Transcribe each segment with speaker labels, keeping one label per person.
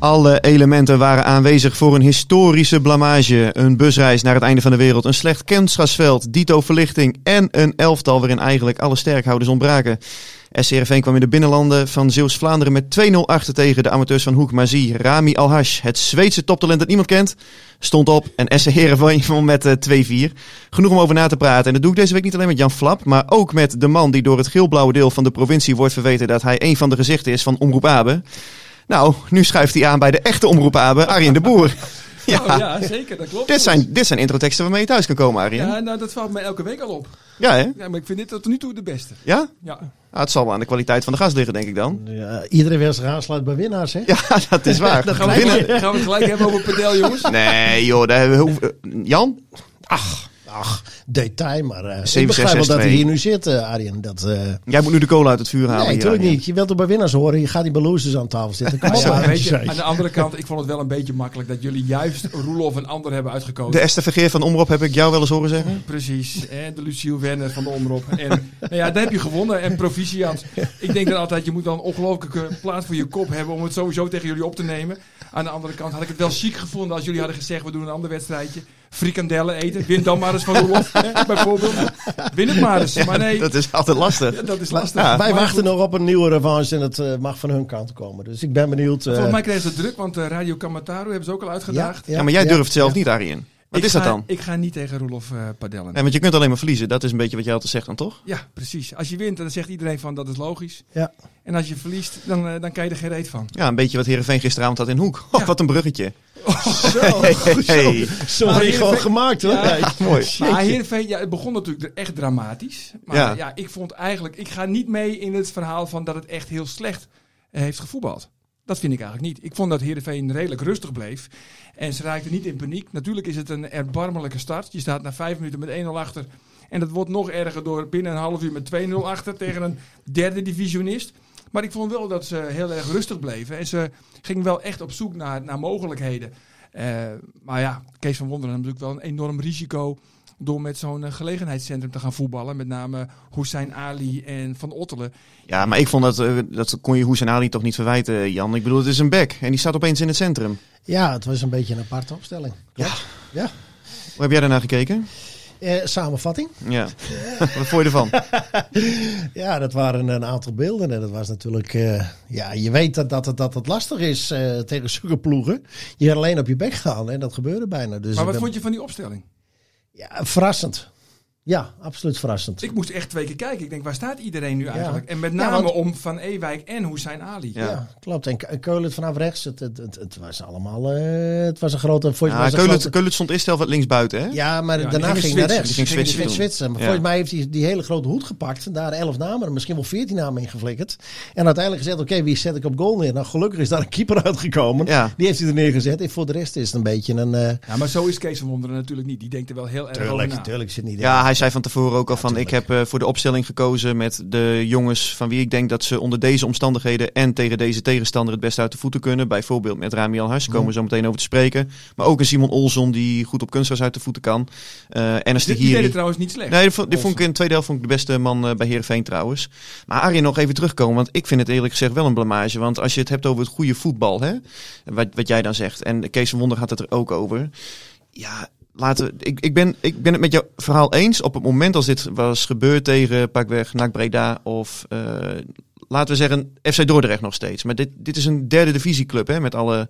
Speaker 1: Alle elementen waren aanwezig voor een historische blamage. Een busreis naar het einde van de wereld, een slecht kunstgrasveld, dito verlichting en een elftal waarin eigenlijk alle sterkhouders ontbraken. SCRV kwam in de binnenlanden van Zeeuws-Vlaanderen met 2-0 achter tegen de amateurs van Hoek Mazie. Rami Alhash, het Zweedse toptalent dat niemand kent, stond op en SC Heerenveen won met eh, 2-4. Genoeg om over na te praten. En dat doe ik deze week niet alleen met Jan Flap, maar ook met de man die door het geelblauwe deel van de provincie wordt verweten dat hij een van de gezichten is van Omroep Abe. Nou, nu schuift hij aan bij de echte omroep Abe, Arjen de Boer. Ja,
Speaker 2: Oh, ja, zeker, dat klopt.
Speaker 1: Dit, zijn, dit zijn introteksten waarmee je thuis kan komen, Arjen. Ja,
Speaker 2: Ja, nou, dat valt mij elke week al op.
Speaker 1: hè?
Speaker 2: Ja, maar ik vind dit tot nu toe de beste.
Speaker 1: Ja?
Speaker 2: Ja.
Speaker 1: Ah, het zal wel aan de kwaliteit van de gast liggen, denk ik dan.
Speaker 3: Ja, iedere wedstrijd aansluit bij winnaars, hè?
Speaker 1: Ja, dat is waar.
Speaker 2: Dan gaan we,
Speaker 1: Winnen-
Speaker 2: gaan we het gelijk hebben over pedel, jongens.
Speaker 1: Nee, joh. Daar hebben we, hoe- eh, Jan?
Speaker 3: Ach, detail, maar eh, ik
Speaker 1: 7662.
Speaker 3: begrijp wel dat hij hier nu zit, eh, Arjen. Dat, eh,
Speaker 1: Jij moet nu de kolen uit het vuur halen.
Speaker 3: nee,
Speaker 1: Nou, hier,
Speaker 3: natuurlijk
Speaker 1: Arjen.
Speaker 3: niet. Je wilt toch bij winnaars horen. Je gaat niet bij losers aan tafel zitten. Kom op,
Speaker 2: Ja,
Speaker 3: Arjen.
Speaker 2: weet je, aan de andere kant, ik vond het wel een beetje makkelijk dat jullie juist Roelof en ander hebben
Speaker 1: De
Speaker 2: uitgekozen.
Speaker 1: Esther Vergeer van Omroep heb ik jou wel eens horen zeggen.
Speaker 2: Precies. En de Luciel Werner van de Omroep. En nou ja, daar heb je gewonnen. En proficiat. Ik denk dan altijd, je moet wel een ongelofelijke plaats voor je kop hebben om het sowieso tegen jullie op te nemen. Aan de andere kant had ik het wel chic gevonden als jullie hadden gezegd, we doen een ander wedstrijdje. Frikandellen eten. Win dan maar eens van Roelof, hè, bijvoorbeeld. Win het maar eens. Maar nee,
Speaker 1: Dat is altijd lastig.
Speaker 2: Ja, dat is lastig.
Speaker 1: Ja.
Speaker 3: Wij
Speaker 2: Maar
Speaker 3: wachten
Speaker 2: goed,
Speaker 3: nog op een nieuwe revanche en het eh, mag van hun kant komen. Dus ik ben benieuwd. eh,
Speaker 2: Volgens mij kregen ze druk, want eh, Radio Kamataru hebben ze ook al uitgedaagd.
Speaker 1: Ja, maar jij durft zelf niet, Arjen. Wat
Speaker 2: Ik
Speaker 1: is dat
Speaker 2: ga-
Speaker 1: dan?
Speaker 2: Ik ga niet tegen Roelof eh, padellen.
Speaker 1: Ja, want je kunt alleen maar verliezen. Dat is een beetje wat jij altijd zegt dan, toch?
Speaker 2: Ja, precies. Als je wint, dan zegt iedereen van dat is logisch.
Speaker 3: Ja.
Speaker 2: En als je verliest, dan, eh, dan kan je er geen reet van.
Speaker 1: Ja, een beetje wat Heerenveen gisteravond had in Hoek. Oh,
Speaker 2: Ja. Oh,
Speaker 1: Wat een bruggetje.
Speaker 3: Zo,
Speaker 1: Hey, hey, hey.
Speaker 3: zo
Speaker 2: Maar
Speaker 3: regel
Speaker 2: Heerenveen-
Speaker 3: gemaakt hoor.
Speaker 2: Ja.
Speaker 3: Ja.
Speaker 1: Mooi.
Speaker 2: Maar Heerenveen, ja, het begon natuurlijk echt dramatisch. Maar
Speaker 1: Ja.
Speaker 2: ja. ik vond eigenlijk... Ik ga niet mee in het verhaal van dat het echt heel slecht eh, heeft gevoetbald. Dat vind ik eigenlijk niet. Ik vond dat Heerenveen redelijk rustig bleef. En ze raakten niet in paniek. Natuurlijk is het een erbarmelijke start. Je staat na vijf minuten met 1-0 achter. En dat wordt nog erger door binnen een half uur met 2-0 achter tegen een derde divisionist. Maar ik vond wel dat ze heel erg rustig bleven. En ze gingen wel echt op zoek naar, naar mogelijkheden. Eh, maar ja, Kees van Wonderen had natuurlijk wel een enorm risico door met zo'n eh, gelegenheidscentrum te gaan voetballen. Met name Hussein Ali en Van Ottelen.
Speaker 3: Dus
Speaker 1: Ja, maar ik vond dat, eh, dat kon je Hoesen Ali toch niet verwijten, Jan. Ik bedoel, het is een bek en die staat opeens in het centrum.
Speaker 3: het was een beetje een aparte opstelling. Klopt. Ja.
Speaker 1: Hoe heb jij daarna gekeken?
Speaker 3: Eh, samenvatting.
Speaker 1: Ja. Wat vond je ervan?
Speaker 3: Ja, dat waren een aantal beelden. En dat was natuurlijk. eh, ja, je weet dat, dat, het- dat het lastig is eh, tegen zulke ploegen. Je gaat alleen op je bek gaan en dat gebeurde bijna. Dus
Speaker 2: Maar
Speaker 3: ik
Speaker 2: wat
Speaker 3: ben-
Speaker 2: vond je van die opstelling?
Speaker 3: Ja, verrassend. Ja, absoluut verrassend.
Speaker 2: Ik moest echt twee keer kijken. Ik denk, waar staat iedereen nu eigenlijk? En met
Speaker 3: Ja,
Speaker 2: name
Speaker 3: want-
Speaker 2: om Van Ewijk en Hussein Ali.
Speaker 1: Ja.
Speaker 3: Ja. klopt. En Ke- Keulen vanaf rechts, het, het, het, het was allemaal, eh, het was een grote... Voor
Speaker 1: Ja,
Speaker 3: was een
Speaker 1: Keulen,
Speaker 3: grote-
Speaker 1: Keulen stond eerst heel wat linksbuiten, hè?
Speaker 3: ja, maar
Speaker 2: Ja, die
Speaker 3: daarna
Speaker 2: gingen
Speaker 3: ging, hij naar
Speaker 2: switchen.
Speaker 3: rechts.
Speaker 1: Die ging switchen
Speaker 3: switchen.
Speaker 1: doen.
Speaker 3: Maar
Speaker 1: Ja.
Speaker 3: volgens mij heeft hij die hele grote hoed gepakt en daar elf namen, misschien wel veertien namen in geflikkerd. En uiteindelijk gezegd, oké, wie zet ik op goal neer? Nou, gelukkig is daar een keeper uitgekomen.
Speaker 1: Ja.
Speaker 3: Die heeft hij er neergezet. En voor de rest is het een beetje een... eh
Speaker 2: Ja, maar zo is Kees van Wonderen natuurlijk niet. Die denkt er wel heel erg
Speaker 3: tuurlijk,
Speaker 2: over na.
Speaker 3: tuurlijk zit niet
Speaker 1: Ja, hij zei van tevoren ook al van, ik heb eh, voor de opstelling gekozen met de jongens van wie ik denk dat ze onder deze omstandigheden en tegen deze tegenstander het best uit de voeten kunnen. Bijvoorbeeld met Rami Alhars, daar komen we zo meteen over te spreken. Maar ook een Simon Olson die goed op kunstgras uit de voeten kan. Eh en een
Speaker 2: Dus Die, die deden
Speaker 1: Stihiri.
Speaker 2: trouwens niet slecht.
Speaker 1: Nee, die vond, die vond ik in de tweede helft vond ik de beste man eh, bij Heerenveen trouwens. Maar Arjen, nog even terugkomen, want ik vind het eerlijk gezegd wel een blamage. Want als je het hebt over het goede voetbal, hè, wat, wat jij dan zegt, en Kees van Wonder had het er ook over. Ja, laten we, ik, ik, ben, ik ben het met jouw verhaal eens. Op het moment als dit was gebeurd tegen Pakweg, NAC Breda of... eh, Laten we zeggen, FC Dordrecht nog steeds. Maar dit, dit is een derde divisieclub, hè, met alle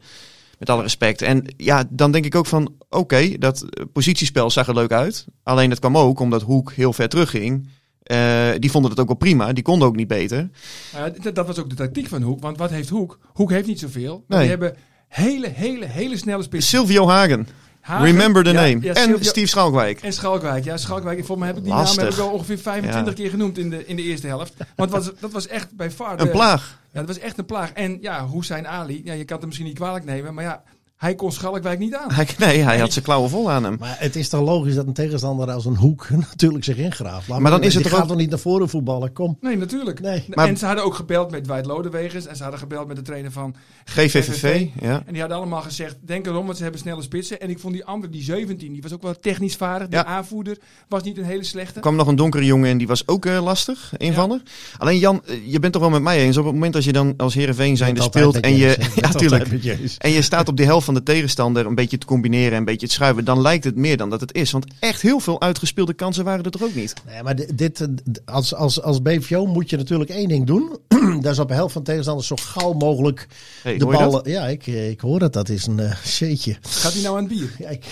Speaker 1: met alle respect. En ja, dan denk ik ook van, oké, dat eh, positiespel zag er leuk uit. Alleen dat kwam ook omdat Hoek heel ver terugging. Eh, eh, die vonden het ook wel prima. Die konden ook niet beter.
Speaker 2: Nou ja, d- dat was ook de tactiek van Hoek. Want wat heeft Hoek? Hoek heeft niet zoveel. maar
Speaker 1: Nee.
Speaker 2: Die hebben hele, hele, hele snelle spitsen.
Speaker 1: Silvio Hagen.
Speaker 2: Hagen,
Speaker 1: remember the
Speaker 2: ja,
Speaker 1: name.
Speaker 2: ja,
Speaker 1: en
Speaker 2: Silvio-
Speaker 1: Steve Schalkwijk.
Speaker 2: En Schalkwijk. Ja, Schalkwijk. Volgens mij heb ik die
Speaker 1: Lastig.
Speaker 2: naam heb ik wel ongeveer 25 keer genoemd in de, in de eerste helft. Want was, dat was echt bij far de-
Speaker 1: Een plaag.
Speaker 2: Ja, dat was echt een plaag. En ja, Hussein Ali. Ja, je kan het hem misschien niet kwalijk nemen. Maar ja, hij kon Schalkwijk niet aan.
Speaker 1: Hij, nee, hij had zijn klauwen vol aan hem.
Speaker 3: Maar het is toch logisch dat een tegenstander als een hoek natuurlijk zich ingraaft. Laat
Speaker 1: Maar dan
Speaker 3: die-
Speaker 1: is het
Speaker 3: die
Speaker 1: toch
Speaker 3: gaat
Speaker 1: ook-
Speaker 3: toch niet naar voren voetballen? Kom.
Speaker 2: Nee, natuurlijk.
Speaker 3: Nee.
Speaker 1: Maar-
Speaker 2: En ze hadden ook gebeld met Dwight Lodewegers. En ze hadden gebeld met de trainer van
Speaker 1: GVVV. Ja.
Speaker 2: En die hadden allemaal gezegd, denk erom, want ze hebben snelle spitsen. En ik vond die andere, die 17, die was ook wel technisch vaardig. Die
Speaker 1: Ja.
Speaker 2: aanvoerder was niet een hele slechte.
Speaker 1: Er kwam nog een donkere jongen en die was ook eh, lastig, invaller. Alleen Jan, eh, je bent toch wel met mij eens. Op het moment als je dan als Heerenveen zijnde
Speaker 3: Altijd
Speaker 1: speelt
Speaker 3: met
Speaker 1: en
Speaker 3: eens, hè.
Speaker 1: je... Ja,
Speaker 3: Altijd
Speaker 1: tuurlijk.
Speaker 3: met je eens.
Speaker 1: En je staat op de helft van de tegenstander een beetje te combineren, een beetje te schuiven. Dan lijkt het meer dan dat het is. Want echt heel veel uitgespeelde kansen waren er toch ook niet.
Speaker 3: Nee, maar di- dit, eh, d- als, als, als BVO moet je natuurlijk één ding doen. dat is op de helft van tegenstanders zo gauw mogelijk
Speaker 1: Hey,
Speaker 3: de
Speaker 1: hoor je dat?
Speaker 3: ballen. Ja, ik, eh, ik hoor dat. Dat is een eh shitje.
Speaker 2: Gaat hij nou aan het bier?
Speaker 3: Ja, ik-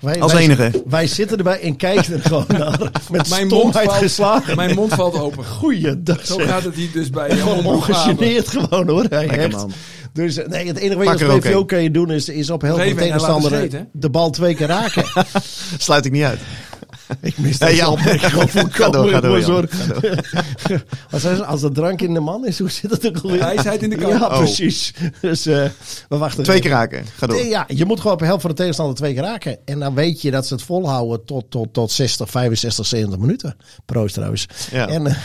Speaker 3: wij,
Speaker 1: Als
Speaker 3: wij-
Speaker 1: enige.
Speaker 3: Wij zitten erbij en kijken er gewoon naar. Met
Speaker 2: Mijn
Speaker 3: mijn
Speaker 2: mond
Speaker 3: stomheid
Speaker 2: valt-
Speaker 3: geslagen.
Speaker 2: Mijn mond valt open.
Speaker 3: Goeiedag
Speaker 2: Zo
Speaker 3: zeg.
Speaker 2: gaat het hier dus bij Jan
Speaker 3: Gewoon
Speaker 2: Broek aan.
Speaker 3: ongegeneerd gewoon hoor. Hij
Speaker 1: Lekker,
Speaker 3: echt.
Speaker 1: man.
Speaker 3: Dus eh, nee, het enige wat
Speaker 1: Pak
Speaker 3: je
Speaker 1: er
Speaker 3: als
Speaker 1: ook
Speaker 3: BVO
Speaker 1: een.
Speaker 3: kan je doen is, is op heel
Speaker 2: Nog
Speaker 3: veel
Speaker 2: even en hij laat
Speaker 3: tegenstander
Speaker 2: het schieten,
Speaker 3: de bal twee keer raken.
Speaker 1: Sluit ik niet uit.
Speaker 3: ik mis
Speaker 1: Hey,
Speaker 3: dat
Speaker 1: Jan.
Speaker 3: zo. Gewoon
Speaker 1: Ga door,
Speaker 3: voorkomen,
Speaker 1: ga door,
Speaker 3: jongens,
Speaker 1: Jan.
Speaker 3: hoor. Als, er- als er drank in de man is, hoe zit het ook alweer?
Speaker 2: Hij zei het in de
Speaker 3: Ja,
Speaker 2: kant.
Speaker 1: Oh.
Speaker 3: precies. Dus eh, we wachten
Speaker 1: Twee
Speaker 3: even.
Speaker 1: keer raken. Ga door.
Speaker 3: Nee, ja, je moet gewoon op de helft van de tegenstander twee keer raken. En dan weet je dat ze het volhouden tot, tot, tot 60, 65, 70 minuten. Proost trouwens.
Speaker 1: Ja.
Speaker 3: En, eh,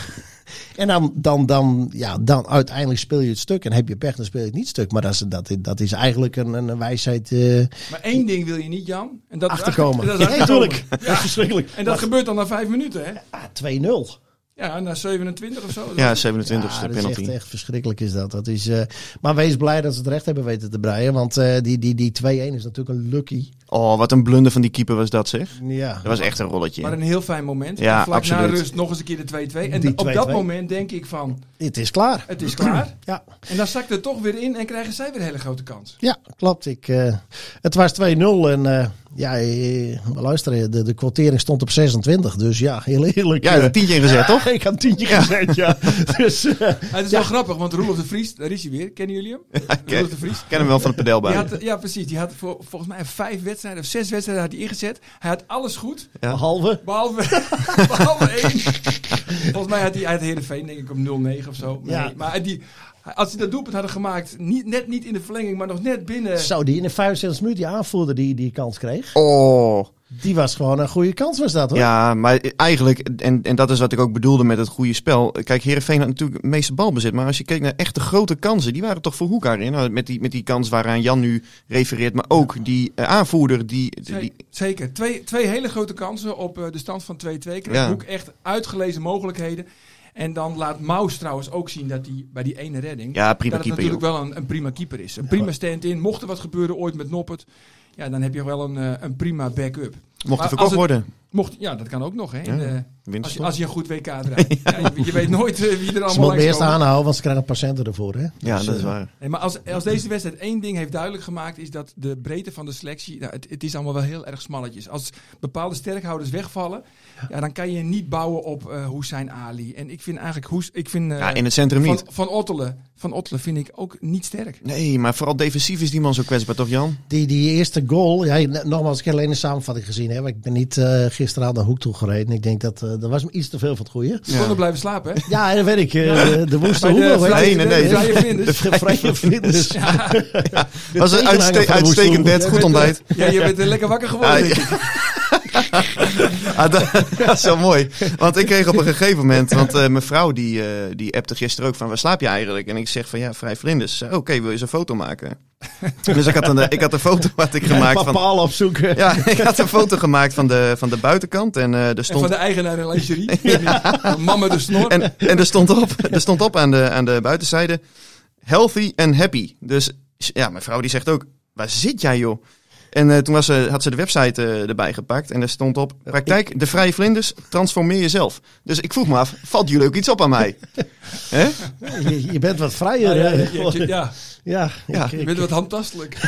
Speaker 3: en dan, dan, dan, ja, dan uiteindelijk speel je het stuk. En heb je pech, dan speel je het niet stuk. Maar dat is, dat, dat is eigenlijk een, een wijsheid eh
Speaker 2: Maar één ding wil je niet, Jan. En dat is
Speaker 3: achterkomen.
Speaker 2: achter- dat is
Speaker 3: Ja,
Speaker 2: achterkomen.
Speaker 3: natuurlijk. Dat is verschrikkelijk.
Speaker 2: En dat gebeurt dan na vijf minuten, hè?
Speaker 3: Ah, 2-0.
Speaker 2: Ja, na 27 of zo.
Speaker 1: Ja, 27ste
Speaker 3: Ja, Ah, dat is
Speaker 1: penalty.
Speaker 3: echt, echt verschrikkelijk is dat. dat is, eh, maar wees blij dat ze het recht hebben weten te breien. Want eh, die, die, die 2-1 is natuurlijk een lucky.
Speaker 1: Oh, wat een blunder van die keeper was dat zeg.
Speaker 3: Ja.
Speaker 1: Dat was echt een rolletje.
Speaker 2: Maar een heel fijn moment.
Speaker 1: Ja,
Speaker 2: En vlak na
Speaker 1: absoluut.
Speaker 2: rust nog eens een keer de 2-2. En
Speaker 3: Die
Speaker 2: op dat
Speaker 3: 2-2.
Speaker 2: moment denk ik van,
Speaker 3: Het is klaar.
Speaker 2: het is klaar.
Speaker 3: Ja.
Speaker 2: En dan zakt het toch weer in en krijgen zij weer een hele grote kans.
Speaker 3: Ja, klopt. Ik, eh, het was 2-0 en eh, ja, eh, maar luister, de, de kwartering stond op 26. Dus ja, heel eerlijk.
Speaker 1: Ja,
Speaker 3: eh,
Speaker 1: er een tientje in gezet, toch?
Speaker 3: ik had een tientje gezet, ja. Dus, eh,
Speaker 2: Ah, Het is wel grappig, want Roelof de Vries, daar is hij weer. Kennen jullie hem? Roelof de Vries.
Speaker 1: Ik ken hem wel van de
Speaker 2: Die
Speaker 1: pedelbaan.
Speaker 2: had, ja, precies. Die had voor, volgens mij vijf wedstrijden of zes wedstrijden had hij ingezet. Hij had alles goed,
Speaker 1: Ja.
Speaker 3: Behalve,
Speaker 2: behalve, behalve één. Volgens mij had hij uit Heerenveen, denk ik, om 0-9 of zo. Nee,
Speaker 3: Ja.
Speaker 2: Maar die, als hij dat doelpunt hadden gemaakt, niet, net niet in de verlenging, maar nog net binnen.
Speaker 3: zo, eh, die in de 65 minuten die aanvoerder die die kans kreeg.
Speaker 1: Oh.
Speaker 3: Die was gewoon een goede kans, was dat hoor.
Speaker 1: Ja, maar eigenlijk, en, en dat is wat ik ook bedoelde met het goede spel. Kijk, Heerenveen had natuurlijk het meeste balbezit. Maar als je keek naar echt de grote kansen, die waren toch voor Hoek in. Nou, met, die, met die kans waaraan Jan nu refereert. Maar ook die eh, aanvoerder, die, die-
Speaker 2: Zek-
Speaker 1: die-
Speaker 2: Zeker. Twee, twee hele grote kansen op eh, de stand van 2-2. Kreeg
Speaker 1: Ja.
Speaker 2: Hoek echt uitgelezen mogelijkheden. En dan laat Maus trouwens ook zien dat hij bij die ene redding...
Speaker 1: Ja, prima
Speaker 2: dat het
Speaker 1: keeper,
Speaker 2: natuurlijk wel een, een prima keeper is. Een prima stand-in. Mocht er wat gebeuren ooit met Noppert... Ja, dan heb je wel een, eh, een prima backup.
Speaker 1: mocht
Speaker 2: Maar
Speaker 1: er
Speaker 2: als
Speaker 1: verkocht
Speaker 2: het-
Speaker 1: worden.
Speaker 2: Mocht, ja, dat kan ook nog. Hè?
Speaker 1: Ja,
Speaker 2: In de- als, je,
Speaker 1: Winststop.
Speaker 2: als je een goed WK draait. ja. je, je weet nooit eh, wie er
Speaker 3: Ze
Speaker 2: allemaal
Speaker 3: moeten me
Speaker 2: langs
Speaker 3: eerst
Speaker 2: komen.
Speaker 3: aanhouden, want ze krijgen patiënten ervoor. Hè?
Speaker 1: Ja,
Speaker 3: Dus,
Speaker 1: dat is
Speaker 3: eh,
Speaker 1: waar.
Speaker 2: Nee, maar als, als deze wedstrijd één ding heeft duidelijk gemaakt, is dat de breedte van de selectie, nou, het, het is allemaal wel heel erg smalletjes. Als bepaalde sterkhouders wegvallen, ja, dan kan je niet bouwen op eh Hussein Ali. En ik vind eigenlijk, Hoes, ik vind eh,
Speaker 1: Ja, in het centrum
Speaker 2: van,
Speaker 1: niet.
Speaker 2: van Ottelen, van Ottelen vind ik ook niet sterk.
Speaker 1: Nee, maar vooral defensief is die man zo kwetsbaar, toch Jan?
Speaker 3: Die, die eerste goal, ja, n- nogmaals, ik heb alleen de samenvatting gezien. Hè, maar ik ben niet eh gisteren aan de hoek toe gereden. Ik denk dat eh dat was me iets te veel van het goede.
Speaker 2: Ze konden blijven slapen, hè?
Speaker 3: Ja, dat weet ik. eh, de, de woeste
Speaker 2: Bij de
Speaker 3: hoeveel, hè?
Speaker 2: vrije-
Speaker 1: Nee, nee,
Speaker 2: de
Speaker 1: nee.
Speaker 2: vrije vlinders.
Speaker 3: De vrije vlinders.
Speaker 1: was een
Speaker 3: tegenhanger
Speaker 1: uitste-
Speaker 3: van de
Speaker 1: uitstekend
Speaker 3: Woestoe.
Speaker 1: bed, goed ontbijt.
Speaker 2: Ja, je bent er lekker wakker geworden.
Speaker 1: Ah,
Speaker 2: denk ik.
Speaker 1: ja. Ah, dat, dat is wel mooi. Want ik kreeg op een gegeven moment, want eh, mijn vrouw die, eh die appte gisteren ook van waar slaap je eigenlijk? En ik zeg van ja, vrij vlinders. Ze zei, "Oh, Oké, wil je eens een foto maken? Dus ik had een, eh, ik had een foto had ik gemaakt van.
Speaker 3: Papaal opzoeken.
Speaker 1: Ja, ik had een foto gemaakt van de, van de buitenkant en eh er
Speaker 2: En van
Speaker 1: stond.
Speaker 2: de eigenaar in lingerie. Mama de snor.
Speaker 1: En, en er stond op, er stond op aan, de, aan de buitenzijde healthy and happy. Dus ja, mijn vrouw die zegt ook, waar zit jij joh? En eh, toen was ze, had ze de website eh, erbij gepakt en er stond op, praktijk, de vrije vlinders, transformeer jezelf. Dus ik vroeg me af, valt jullie ook iets op aan mij? Hè?
Speaker 3: Je, je bent wat
Speaker 2: Ja,
Speaker 3: vrijer.
Speaker 2: Ah, ja,
Speaker 3: hè?
Speaker 2: ja, ja, ja.
Speaker 3: Ja,
Speaker 1: Ja.
Speaker 3: ik-
Speaker 2: je
Speaker 3: ik-
Speaker 2: bent wat handtastelijk.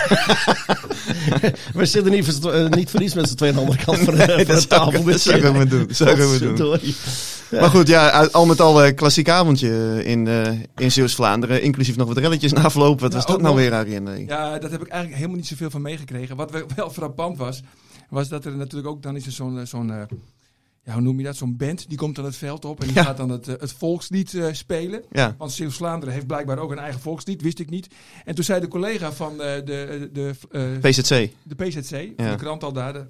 Speaker 3: we zitten niet voor, z'n tw- eh, niet voor niets met z'n tweeën aan de andere kant van de, van
Speaker 1: dat
Speaker 3: de
Speaker 1: zou ik-
Speaker 3: tafel.
Speaker 1: dat zou ik ook maar doen, dat zou ik ook maar doen.
Speaker 3: Potverdorie.
Speaker 1: Maar goed, ja, al met al eh, klassiek avondje in, eh in Zeeuws-Vlaanderen. Inclusief nog wat relletjes na afloop. Wat
Speaker 2: Ja,
Speaker 1: was dat
Speaker 2: ook
Speaker 1: nou
Speaker 2: nog.
Speaker 1: weer, Arjen? Nee.
Speaker 2: Ja, dat heb ik eigenlijk helemaal niet zoveel van meegekregen. Wat wel- wel frappant was, was dat er natuurlijk ook, dan is er zo'n, eh, zo'n eh, ja, hoe noem je dat, zo'n band, die komt dan het veld op en die
Speaker 1: Ja.
Speaker 2: gaat dan het, eh, het volkslied eh, spelen.
Speaker 1: Ja.
Speaker 2: Want Zeeuws-Vlaanderen heeft blijkbaar ook een eigen volkslied, wist ik niet. En toen zei de collega van eh, de, de, eh,
Speaker 1: PZC.
Speaker 2: de PZC, van
Speaker 1: Ja.
Speaker 2: de krant al daar, de-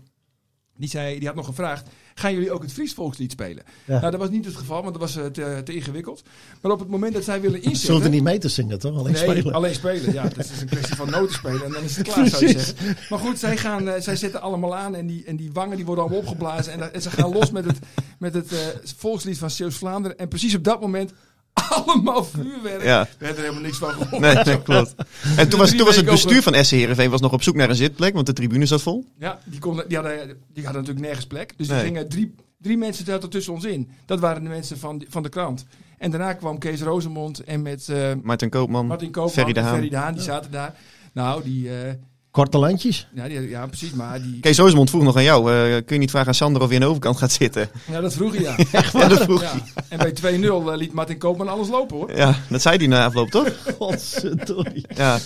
Speaker 2: die, zei, die had nog gevraagd, gaan jullie ook het Fries volkslied spelen?
Speaker 3: Ja.
Speaker 2: Nou, dat was niet het geval, want dat was eh, te, te ingewikkeld. Maar op het moment dat zij willen
Speaker 3: Ze hoefden
Speaker 2: inzetten...
Speaker 3: niet mee te zingen, toch? Alleen
Speaker 2: nee,
Speaker 3: spelen.
Speaker 2: alleen spelen. Ja, dat is een kwestie van noten spelen en dan is het klaar, zou je
Speaker 3: Precies.
Speaker 2: zeggen. Maar goed, zij, gaan, eh, zij zetten allemaal aan en die, en die wangen die worden allemaal opgeblazen. En, dat- en ze gaan los met het, met het eh, volkslied van Zeeuws-Vlaanderen. En precies op dat moment allemaal vuurwerk.
Speaker 1: Ja.
Speaker 2: We hebben er helemaal niks van gehoord.
Speaker 1: Nee, nee, klopt. En toen was, toen was het
Speaker 2: weken
Speaker 1: bestuur van SC Heerenveen was nog op zoek naar een zitplek, want de tribune zat vol.
Speaker 2: Ja, die, konden, die, hadden, die hadden natuurlijk nergens plek. Dus
Speaker 1: Nee.
Speaker 2: er gingen drie, drie mensen zaten tussen ons in. Dat waren de mensen van, die- van de krant. En daarna kwam Kees Rosemond en met eh,
Speaker 1: Martin Koopman,
Speaker 2: Martin Koopman
Speaker 1: Mm. Ferry de
Speaker 2: en
Speaker 1: Haan.
Speaker 2: Ferry de Haan. Die zaten daar. Nou, die, eh,
Speaker 3: Korte landjes.
Speaker 2: ja, die- ja, precies. Maar die,
Speaker 1: Kees Rosemond vroeg nog aan jou, eh, kun je niet vragen aan Sander of hij aan de overkant gaat zitten?
Speaker 2: ja, dat vroeg hij ja.
Speaker 1: Ja, dat vroeg
Speaker 2: Ja.
Speaker 1: hij.
Speaker 2: En bij 2-0 eh, liet Martin Koopman alles lopen hoor.
Speaker 1: Ja, dat zei hij na afloop, toch?
Speaker 3: Godverdorie.
Speaker 1: Ja.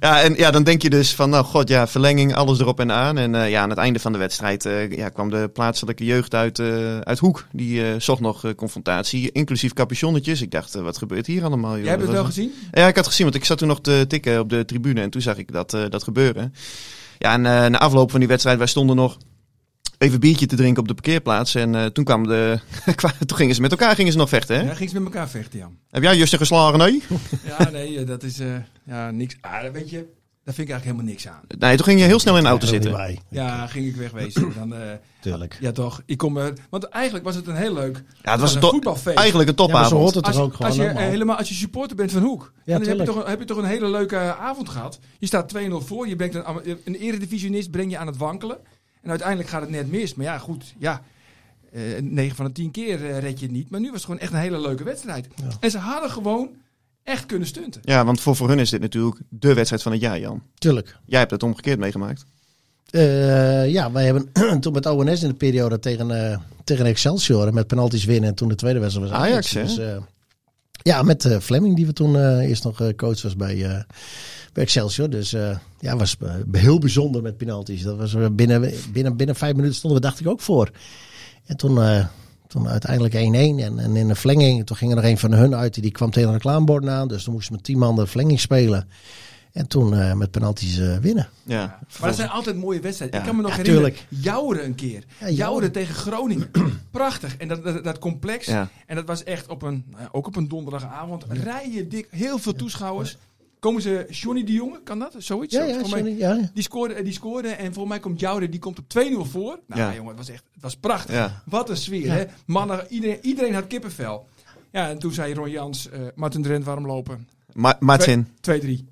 Speaker 1: ja, en ja, dan denk je dus van, nou god, ja, verlenging, alles erop en aan. En eh, ja, aan het einde van de wedstrijd eh, ja, kwam de plaatselijke jeugd uit, eh, uit Hoek. Die eh, zocht nog eh, confrontatie, inclusief capuchonnetjes. Ik dacht, eh, wat gebeurt hier allemaal? Joh?
Speaker 2: Jij hebt
Speaker 1: Dat
Speaker 2: het wel
Speaker 1: was-
Speaker 2: gezien?
Speaker 1: Ja, ik had gezien, want ik zat toen nog te tikken op de tribune en toen zag ik dat, eh, dat gebeuren. Ja, en eh, na afloop van die wedstrijd, wij stonden nog even biertje te drinken op de parkeerplaats. En eh, toen, kwamen de, kwa- toen gingen ze met elkaar gingen ze nog vechten, hè?
Speaker 2: Ja, ging ze met elkaar vechten, Jan.
Speaker 1: Heb jij Justin geslagen, nee?
Speaker 2: Ja, nee, eh, dat is eh, ja, niks. Ah, dat weet je, daar vind ik eigenlijk helemaal niks aan.
Speaker 1: Nee, toen ging je heel snel in de auto
Speaker 3: Daar zitten
Speaker 1: zitten.
Speaker 3: wij.
Speaker 2: Ja, ging ik wegwezen. Dan, eh,
Speaker 3: Tuurlijk.
Speaker 2: ja, toch. Ik kom, er want eigenlijk was het een heel leuk
Speaker 1: Ja, het was een
Speaker 2: een
Speaker 1: to-
Speaker 2: voetbalfeest.
Speaker 1: Eigenlijk een
Speaker 3: Ja, maar zo
Speaker 1: topavond.
Speaker 3: hoort het
Speaker 2: als,
Speaker 3: toch ook
Speaker 2: als
Speaker 3: gewoon
Speaker 2: je, eh,
Speaker 3: allemaal?
Speaker 2: helemaal als je supporter bent van Hoek, dan heb je,
Speaker 3: tuurlijk.
Speaker 2: toch, een- heb je toch een hele leuke eh, avond gehad. Je staat 2-0 voor, je brengt een, am- een eredivisionist breng je aan het wankelen. En uiteindelijk gaat het net mis. Maar ja, goed, ja. eh 9 van de 10 keer eh, red je het niet. Maar nu was het gewoon echt een hele leuke wedstrijd. En ze hadden gewoon echt kunnen stunten.
Speaker 1: Ja, want voor, voor hun is dit natuurlijk de wedstrijd van het jaar, Jan.
Speaker 3: Tuurlijk.
Speaker 1: Jij hebt het omgekeerd meegemaakt.
Speaker 3: Eh, ja, wij hebben toen met ONS in de periode tegen, eh, tegen Excelsior met penalties winnen. En toen de tweede wedstrijd was
Speaker 1: Ajax, hè?
Speaker 3: eh, ja, met eh, Fleming, die we toen eh, eerst nog eh, coach was bij, eh, bij Excelsior. Dus eh, ja, was eh, heel bijzonder met penalties. Dat was eh, binnen, binnen, binnen vijf minuten stonden we, dacht ik, ook voor. En toen, eh, toen uiteindelijk 1-1. En, en in de verlenging, toen ging er nog een van hun uit. Die kwam tegen een reclamebord aan. Dus toen moesten we met tien man de verlenging spelen. En toen eh, met penalties eh, winnen.
Speaker 1: Ja,
Speaker 2: Maar dat zijn altijd mooie wedstrijden.
Speaker 1: Ja.
Speaker 2: Ik kan me nog
Speaker 3: Ja,
Speaker 2: herinneren, Jouren een keer.
Speaker 3: Ja,
Speaker 2: Jouren
Speaker 3: Jouren.
Speaker 2: tegen Groningen. Prachtig. En dat, dat, dat complex.
Speaker 1: Ja.
Speaker 2: En dat was echt op een, nou ja, ook op een donderdagavond. Rijen dik, heel veel toeschouwers. Komen ze, Johnny de Jonge, kan dat? Zoiets?
Speaker 3: Ja,
Speaker 2: Zo-
Speaker 3: ja,
Speaker 2: volgens mij-
Speaker 3: sorry, ja.
Speaker 2: Die scoorde, eh, die scoorde en volgens mij komt Jouren, die komt op 2-0 voor. Nou
Speaker 1: Ja.
Speaker 2: jongen, het was echt het was prachtig.
Speaker 1: Ja.
Speaker 2: Wat een sfeer,
Speaker 3: Ja.
Speaker 2: hè? Mannen, iedereen, iedereen had kippenvel. Ja, en toen zei Ron Jans, eh Martin Drent, waarom lopen?
Speaker 1: Ma- Martin.
Speaker 2: 2-3. Drie.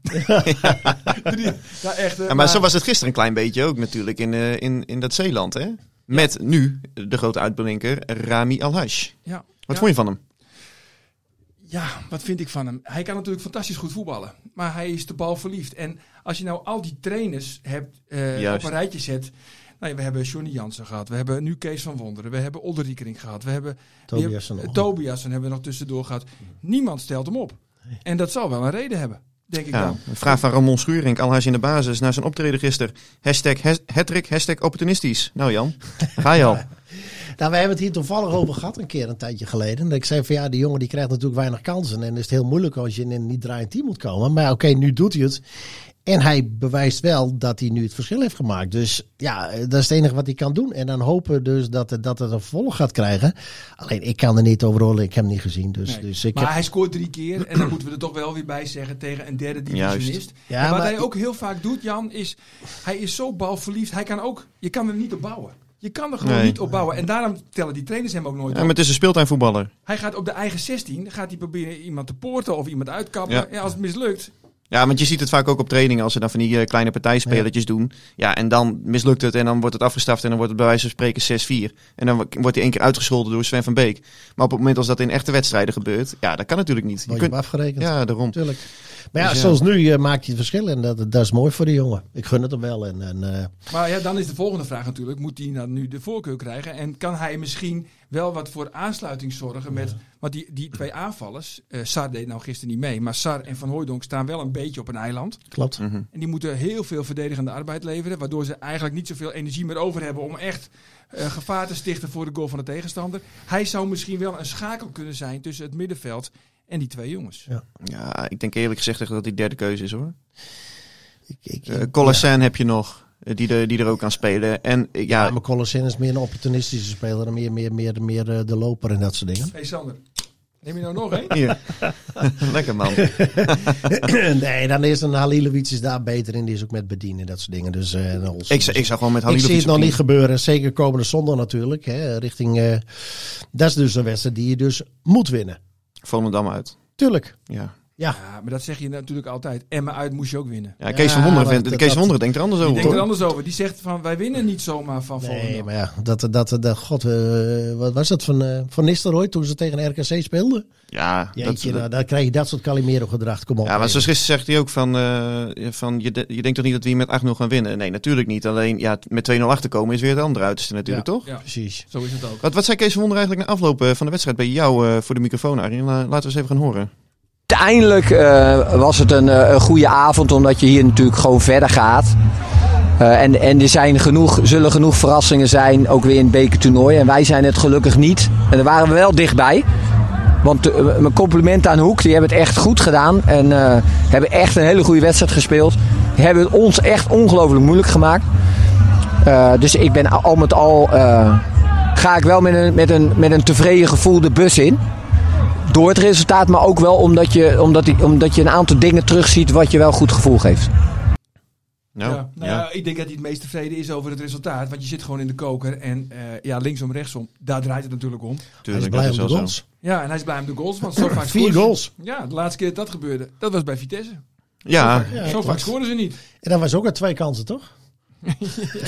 Speaker 2: ja, echt. eh,
Speaker 1: Ja, maar zo was het gisteren een klein beetje ook natuurlijk in, eh, in, in dat Zeeland, hè? Met nu de grote uitblinker Rami Alhash.
Speaker 2: ja,
Speaker 1: Wat
Speaker 2: ja.
Speaker 1: vond je van hem?
Speaker 2: Ja, wat vind ik van hem? Hij kan natuurlijk fantastisch goed voetballen, maar hij is de bal verliefd. En als je nou al die trainers hebt, eh, op
Speaker 1: Juist.
Speaker 2: een rijtje zet. Nou ja, we hebben Johnny Jansen gehad, we hebben nu Kees van Wonderen, we hebben Olde Riekering gehad, we hebben
Speaker 3: Tobias en
Speaker 2: eh,
Speaker 3: Olde.
Speaker 2: Tobias en hebben we nog tussendoor gehad. Niemand stelt hem op. En dat zal wel een reden hebben, denk ik
Speaker 1: Ja,
Speaker 2: dan.
Speaker 1: een vraag van Ramon Schuring, Alhash in de basis, na zijn optreden gisteren. Hashtag has- hattrick, hashtag opportunistisch. Nou Jan, daar ga je al.
Speaker 3: Nou, we hebben het hier toevallig over gehad een keer een tijdje geleden. Dat ik zei van ja, die jongen die krijgt natuurlijk weinig kansen. En is het heel moeilijk als je in een niet draaiend team moet komen. Maar ja, oké, nu doet hij het. En hij bewijst wel dat hij nu het verschil heeft gemaakt. Dus ja, eh, dat is het enige wat hij kan doen. En dan hopen dus dat, het- dat het een volg gaat krijgen. Alleen ik kan er niet over rollen. Ik heb hem niet gezien. Dus,
Speaker 2: Nee.
Speaker 3: dus ik
Speaker 2: maar
Speaker 3: heb-
Speaker 2: hij scoort drie keer en dan moeten we er toch wel weer bij zeggen tegen een derde divisionist.
Speaker 3: Ja,
Speaker 2: en wat
Speaker 3: maar-
Speaker 2: hij ook heel vaak doet, Jan, is hij is zo balverliefd. Hij kan ook, je kan er niet op bouwen. Je kan er gewoon
Speaker 1: Nee.
Speaker 2: niet op bouwen. En daarom tellen die trainers hem ook nooit
Speaker 1: Ja,
Speaker 2: op.
Speaker 1: maar het is een speeltuinvoetballer.
Speaker 2: Hij gaat op de eigen 16, gaat hij proberen iemand te poorten of iemand uitkappen.
Speaker 1: Ja.
Speaker 2: Ja. als het mislukt,
Speaker 1: Ja, want je ziet het vaak ook op trainingen als ze dan van die eh, kleine partijspelertjes doen. Ja, en dan mislukt het en dan wordt het afgestraft en dan wordt het bij wijze van spreken 6-4. En dan wo- wordt hij één keer uitgescholden door Sven van Beek. Maar op het moment als dat in echte wedstrijden gebeurt, ja, dat kan natuurlijk niet. Je
Speaker 3: word je
Speaker 1: kunt,
Speaker 3: hem afgerekend.
Speaker 1: ja, daarom.
Speaker 3: Tuurlijk. Maar ja,
Speaker 1: Dus ja.
Speaker 3: zoals nu eh, maakt hij het verschil. En dat, dat is mooi voor de jongen. Ik gun het hem wel. En, en, eh,
Speaker 2: Maar ja, dan is de volgende vraag natuurlijk: moet hij nou nu de voorkeur krijgen? En kan hij misschien wel wat voor aansluiting zorgen met. Want die, die twee aanvallers, eh, Sar deed nou gisteren niet mee, maar Sar en Van Hooijdonk staan wel een beetje op een eiland.
Speaker 3: klopt.
Speaker 1: Mhm.
Speaker 2: En die moeten heel veel verdedigende arbeid leveren, waardoor ze eigenlijk niet zoveel energie meer over hebben om echt eh, gevaar te stichten voor de goal van de tegenstander. Hij zou misschien wel een schakel kunnen zijn tussen het middenveld en die twee jongens.
Speaker 3: Ja.
Speaker 1: Ja, ik denk eerlijk gezegd echt dat die derde keuze is hoor.
Speaker 3: Ik, ik,
Speaker 1: Eh Colasin heb je nog, eh, die, er- die er ook aan spelen. En eh, ja,
Speaker 3: ja, maar Colossin is meer een opportunistische speler. En meer, meer, meer, meer eh, de loper en dat soort dingen.
Speaker 2: Hey Sander, neem je nou nog één?
Speaker 1: hier. Lekker man.
Speaker 3: nee, dan is een Halilovic is daar beter in. Die is ook met bedienen dat soort dingen. Dus, eh, en Olsen.
Speaker 1: Ik, zou- ik zou gewoon met
Speaker 3: ik
Speaker 1: Halilovic...
Speaker 3: zie het
Speaker 1: op
Speaker 3: nog
Speaker 1: tien.
Speaker 3: niet gebeuren. Zeker komende zondag natuurlijk. Hè, richting, eh, dat is dus een wedstrijd die je dus moet winnen.
Speaker 1: Volendam uit.
Speaker 3: Tuurlijk.
Speaker 1: Ja.
Speaker 2: Ja, maar dat zeg je natuurlijk altijd. Emma uit moest je ook winnen.
Speaker 1: Ja, Kees
Speaker 3: Ja,
Speaker 1: van Wonderen,
Speaker 3: maar
Speaker 1: vindt,
Speaker 3: dat-
Speaker 1: Kees van
Speaker 3: dat-
Speaker 1: Wonderen denkt er anders
Speaker 2: Die
Speaker 1: over.
Speaker 2: denkt er
Speaker 1: hoor.
Speaker 2: anders over. Die zegt van wij winnen niet zomaar van
Speaker 3: Nee,
Speaker 2: Volendam.
Speaker 3: maar ja, dat, dat, dat, god, eh, wat was dat van, eh, van Nistelrooy toen ze tegen RKC speelden?
Speaker 1: Ja, dat,
Speaker 3: Jeetje,
Speaker 1: dat-
Speaker 3: nou, dan krijg je dat soort Calimero gedrag, kom op.
Speaker 1: ja, maar
Speaker 3: Nee.
Speaker 1: zoals gisteren zegt hij ook van, eh, van je, de- je denkt toch niet dat we hier met 8-0 gaan winnen? Nee, natuurlijk niet. Alleen ja, t- met 2-0 achterkomen is weer het andere uiterste natuurlijk,
Speaker 3: Ja.
Speaker 1: toch?
Speaker 2: Ja,
Speaker 3: Precies.
Speaker 2: zo is het ook.
Speaker 1: Wat, wat zei Kees van Wonderen eigenlijk na afloop eh, van de wedstrijd bij jou eh, voor de microfoon, Arjen? La- Laten we eens even gaan horen.
Speaker 4: Uiteindelijk eh, was het een, eh, een goede avond, omdat je hier natuurlijk gewoon verder gaat. Eh, en en er zijn genoeg, zullen genoeg verrassingen zijn, ook weer in het bekertoernooi. En wij zijn het gelukkig niet. En daar waren we wel dichtbij. Want eh, mijn compliment aan Hoek, die hebben het echt goed gedaan. En eh, hebben echt een hele goede wedstrijd gespeeld. Die hebben het ons echt ongelooflijk moeilijk gemaakt. Eh, dus ik ben al met al, eh, ga ik wel met een, met, een, met een tevreden gevoel de bus in. Door het resultaat, maar ook wel omdat je, omdat, die- omdat je een aantal dingen terugziet wat je wel goed gevoel geeft.
Speaker 1: Nou,
Speaker 2: ja. Nou, ja, ik denk dat hij het meest tevreden is over het resultaat. Want je zit gewoon in de koker. En eh, ja, linksom, rechtsom, daar draait het natuurlijk om.
Speaker 3: Hij is
Speaker 1: tuurlijk,
Speaker 3: blij
Speaker 1: dat is
Speaker 3: om de
Speaker 1: wel zo.
Speaker 3: goals.
Speaker 2: Ja, en hij is blij om de goals. Want zo vaak
Speaker 3: Vier
Speaker 2: scoren ze-
Speaker 3: goals.
Speaker 2: Ja, de laatste keer dat dat gebeurde, dat was bij Vitesse.
Speaker 1: Ja,
Speaker 3: Ja,
Speaker 2: zo vaak
Speaker 3: klopt.
Speaker 2: scoren ze niet.
Speaker 3: En dat was ook uit twee kansen, toch?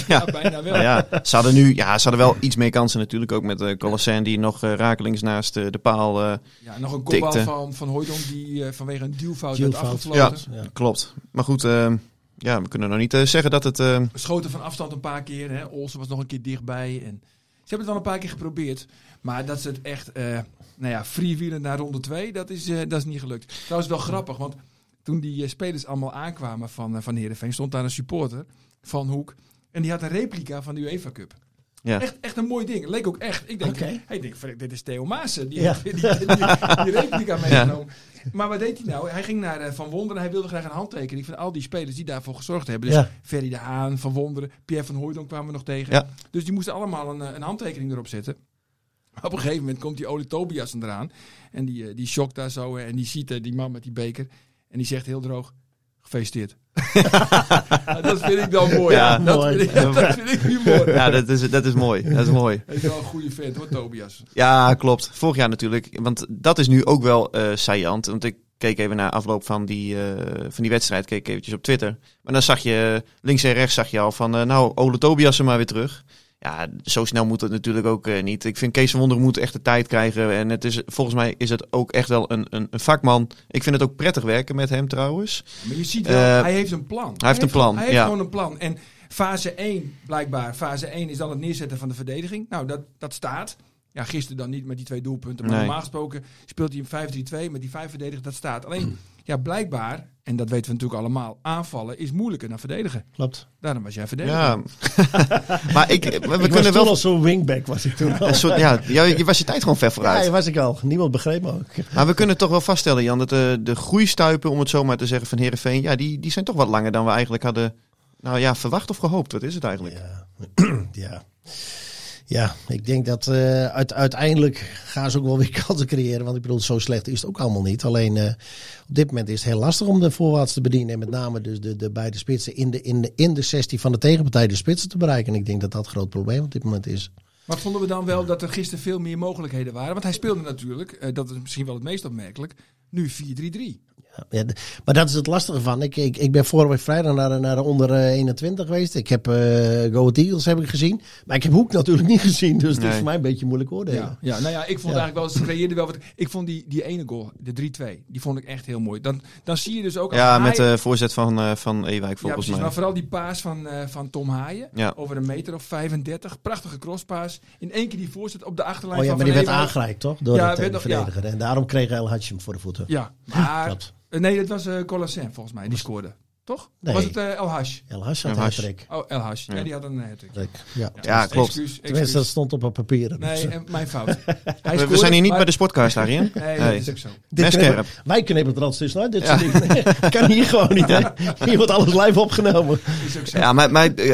Speaker 2: Ja, bijna wel.
Speaker 1: Nou ja, ze hadden nu ja, ze hadden wel iets meer kansen natuurlijk. Ook met eh Colasin die nog eh, rakelings naast eh, de paal. eh,
Speaker 2: Ja, en nog een kopbal
Speaker 1: Tikte.
Speaker 2: van, van Hooijdonk die eh, vanwege een duwfout werd
Speaker 3: Gielfout.
Speaker 2: afgefloten.
Speaker 3: Ja.
Speaker 1: klopt. Maar goed, eh, ja, we kunnen nog niet eh, zeggen dat het... eh,
Speaker 2: schoten van afstand een paar keer. Hè. Olsen was nog een keer dichtbij. En ze hebben het wel een paar keer geprobeerd. Maar dat ze het echt, eh nou ja, freewheelen naar ronde 2, dat, is, eh, dat is niet gelukt. Trouwens wel grappig, want toen die eh, spelers allemaal aankwamen van, eh, van Heerenveen, stond daar een supporter van Hoek. En die had een replica van de UEFA Cup.
Speaker 1: Ja.
Speaker 2: Echt, echt een mooi ding. Leek ook echt. Ik denk,
Speaker 3: Oké.
Speaker 2: hey, ik denk verrek, dit is Theo Maassen. Die
Speaker 3: Ja.
Speaker 2: heeft die, die, die- die replica meegenomen. Maar wat deed hij nou? Hij ging naar eh, Van Wonderen. Hij wilde graag een handtekening van al die spelers die daarvoor gezorgd hebben. Dus
Speaker 3: Ja.
Speaker 2: Ferry de Haan, Van Wonderen, Pierre van Hooijdonk kwamen we nog tegen.
Speaker 1: Ja.
Speaker 2: Dus die moesten allemaal een, eh, een handtekening erop zetten. Maar Op een gegeven moment komt die Ole Tobias eraan. En die, eh, die shock daar zo. eh, En die ziet eh, die man met die beker. En die zegt heel droog, gefeliciteerd. Ja, dat vind ik dan mooi.
Speaker 1: Ja,
Speaker 2: dat,
Speaker 3: mooi.
Speaker 2: Vind ik, dat vind ik humor.
Speaker 1: Ja, dat is, dat is mooi. Dat is mooi.
Speaker 2: Hij is wel een goede vent hoor, Tobias.
Speaker 1: Ja, klopt. Vorig jaar natuurlijk. Want dat is nu ook wel eh saillant. Want ik keek even naar afloop van die, eh, van die wedstrijd. Keek ik eventjes op Twitter. Maar dan zag je eh, links en rechts zag je al van... eh, nou, Ole Tobias er maar weer terug. Ja, zo snel moet het natuurlijk ook eh, niet. Ik vind Kees van Wonderen moet echt de tijd krijgen. En het is, volgens mij is het ook echt wel een, een, een vakman. Ik vind het ook prettig werken met hem trouwens.
Speaker 2: Maar je ziet wel,
Speaker 1: Eh,
Speaker 2: hij heeft een plan.
Speaker 1: heeft een plan,
Speaker 2: Hij heeft
Speaker 1: ja.
Speaker 2: gewoon een plan. En fase 1, blijkbaar, fase 1 is dan het neerzetten van de verdediging. Nou, dat, dat staat. Ja, gisteren dan niet met die twee doelpunten. Maar
Speaker 1: Nee.
Speaker 2: normaal gesproken speelt hij een 5-3-2 met die vijf verdedigers. Dat staat. Alleen, ja, blijkbaar, en dat weten we natuurlijk allemaal, aanvallen is moeilijker dan verdedigen.
Speaker 3: Klopt.
Speaker 2: Daarom was jij verdediger.
Speaker 1: Ja. maar ik, we,
Speaker 3: We
Speaker 1: kunnen wel...
Speaker 3: al zo'n wingback, was ik toen al.
Speaker 1: Een soort, ja, je, je was je tijd gewoon ver
Speaker 3: Ja,
Speaker 1: vooruit.
Speaker 3: ja, was ik al. Niemand begreep me ook.
Speaker 1: Maar we kunnen toch wel vaststellen, Jan, dat de, de groeistuipen, om het zo maar te zeggen, van Herenveen, ja, die, die zijn toch wat langer dan we eigenlijk hadden nou ja, verwacht of gehoopt. Wat is het eigenlijk?
Speaker 3: Ja, ja. ja ik denk dat eh, uit, uiteindelijk gaan ze ook wel weer kansen creëren. Want ik bedoel, zo slecht is het ook allemaal niet. Alleen eh, op dit moment is het heel lastig om de voorwaarts te bedienen. En met name dus de, de beide spitsen in de, in, de, in de 16 van de tegenpartij de spitsen te bereiken. En ik denk dat dat een groot probleem op dit moment is.
Speaker 2: Maar vonden we dan wel dat er gisteren veel meer mogelijkheden waren? Want hij speelde natuurlijk, eh, dat is misschien wel het meest opmerkelijk, nu 4-3-3.
Speaker 3: Ja, d- maar dat is het lastige van. Ik, ik, ik ben vorige week vrijdag naar, de- naar de onder eh, 21 geweest. Ik heb eh Go Ahead Eagles heb ik gezien. Maar ik heb Hoek natuurlijk niet gezien. Dus dat
Speaker 1: Nee.
Speaker 3: is voor mij een beetje moeilijk oordelen. Oh
Speaker 2: Ja, ja, nou ja, ik vond
Speaker 3: Ja.
Speaker 2: eigenlijk wel, ze creëerden wel wat. Ik vond die, die ene goal, de 3-2, die vond ik echt heel mooi. Dan, dan zie je dus ook... als
Speaker 1: Ja,
Speaker 2: Ajax-
Speaker 1: met de voorzet van, eh, van Ewijk
Speaker 2: ja,
Speaker 1: volgens
Speaker 2: precies,
Speaker 1: mij.
Speaker 2: maar vooral die paas van, eh, van Tom Haaien.
Speaker 1: Ja.
Speaker 2: Over een meter of 35. Prachtige crosspaas. In één keer die voorzet op de achterlijn
Speaker 3: Oh ja,
Speaker 2: van
Speaker 3: maar die werd
Speaker 2: Van Heewijk.
Speaker 3: aangereikt toch? Door
Speaker 2: Ja,
Speaker 3: het, eh,
Speaker 2: werd nog- ja.
Speaker 3: verdediger. En daarom kreeg El Hadji hem voor de voeten.
Speaker 2: Ja, maar...
Speaker 3: Klopt.
Speaker 2: eh, nee, dat was eh Colasin volgens mij, die scoorde. Toch?
Speaker 3: Nee.
Speaker 2: Was het eh, El Hash?
Speaker 3: El Hadji had
Speaker 1: El
Speaker 3: een
Speaker 1: Hadji.
Speaker 3: hat-trick.
Speaker 2: Oh, El Hash. Ja.
Speaker 1: Ja.
Speaker 2: die had een eh, hat-trick.
Speaker 3: Hattrick, Ja.
Speaker 1: Ja, klopt.
Speaker 2: Excuus,
Speaker 3: Tenminste, dat
Speaker 2: excuus.
Speaker 3: stond op haar papieren. Dus,
Speaker 2: Nee,
Speaker 3: eh,
Speaker 2: en mijn fout. Hij
Speaker 1: We, we
Speaker 2: scoorde,
Speaker 1: zijn hier niet
Speaker 2: maar-
Speaker 1: bij de sportcast, Arjen.
Speaker 2: Nee, dat
Speaker 1: Nee.
Speaker 2: is ook zo.
Speaker 3: dit
Speaker 1: Mes
Speaker 3: knippen-
Speaker 1: scherp.
Speaker 3: wij knippen het er altijd snel uit. Dit
Speaker 1: Ja.
Speaker 3: soort dingen. kan hier gewoon niet. Hè? Hier wordt alles live opgenomen.
Speaker 2: Is ook zo.
Speaker 1: Ja, maar, maar eh,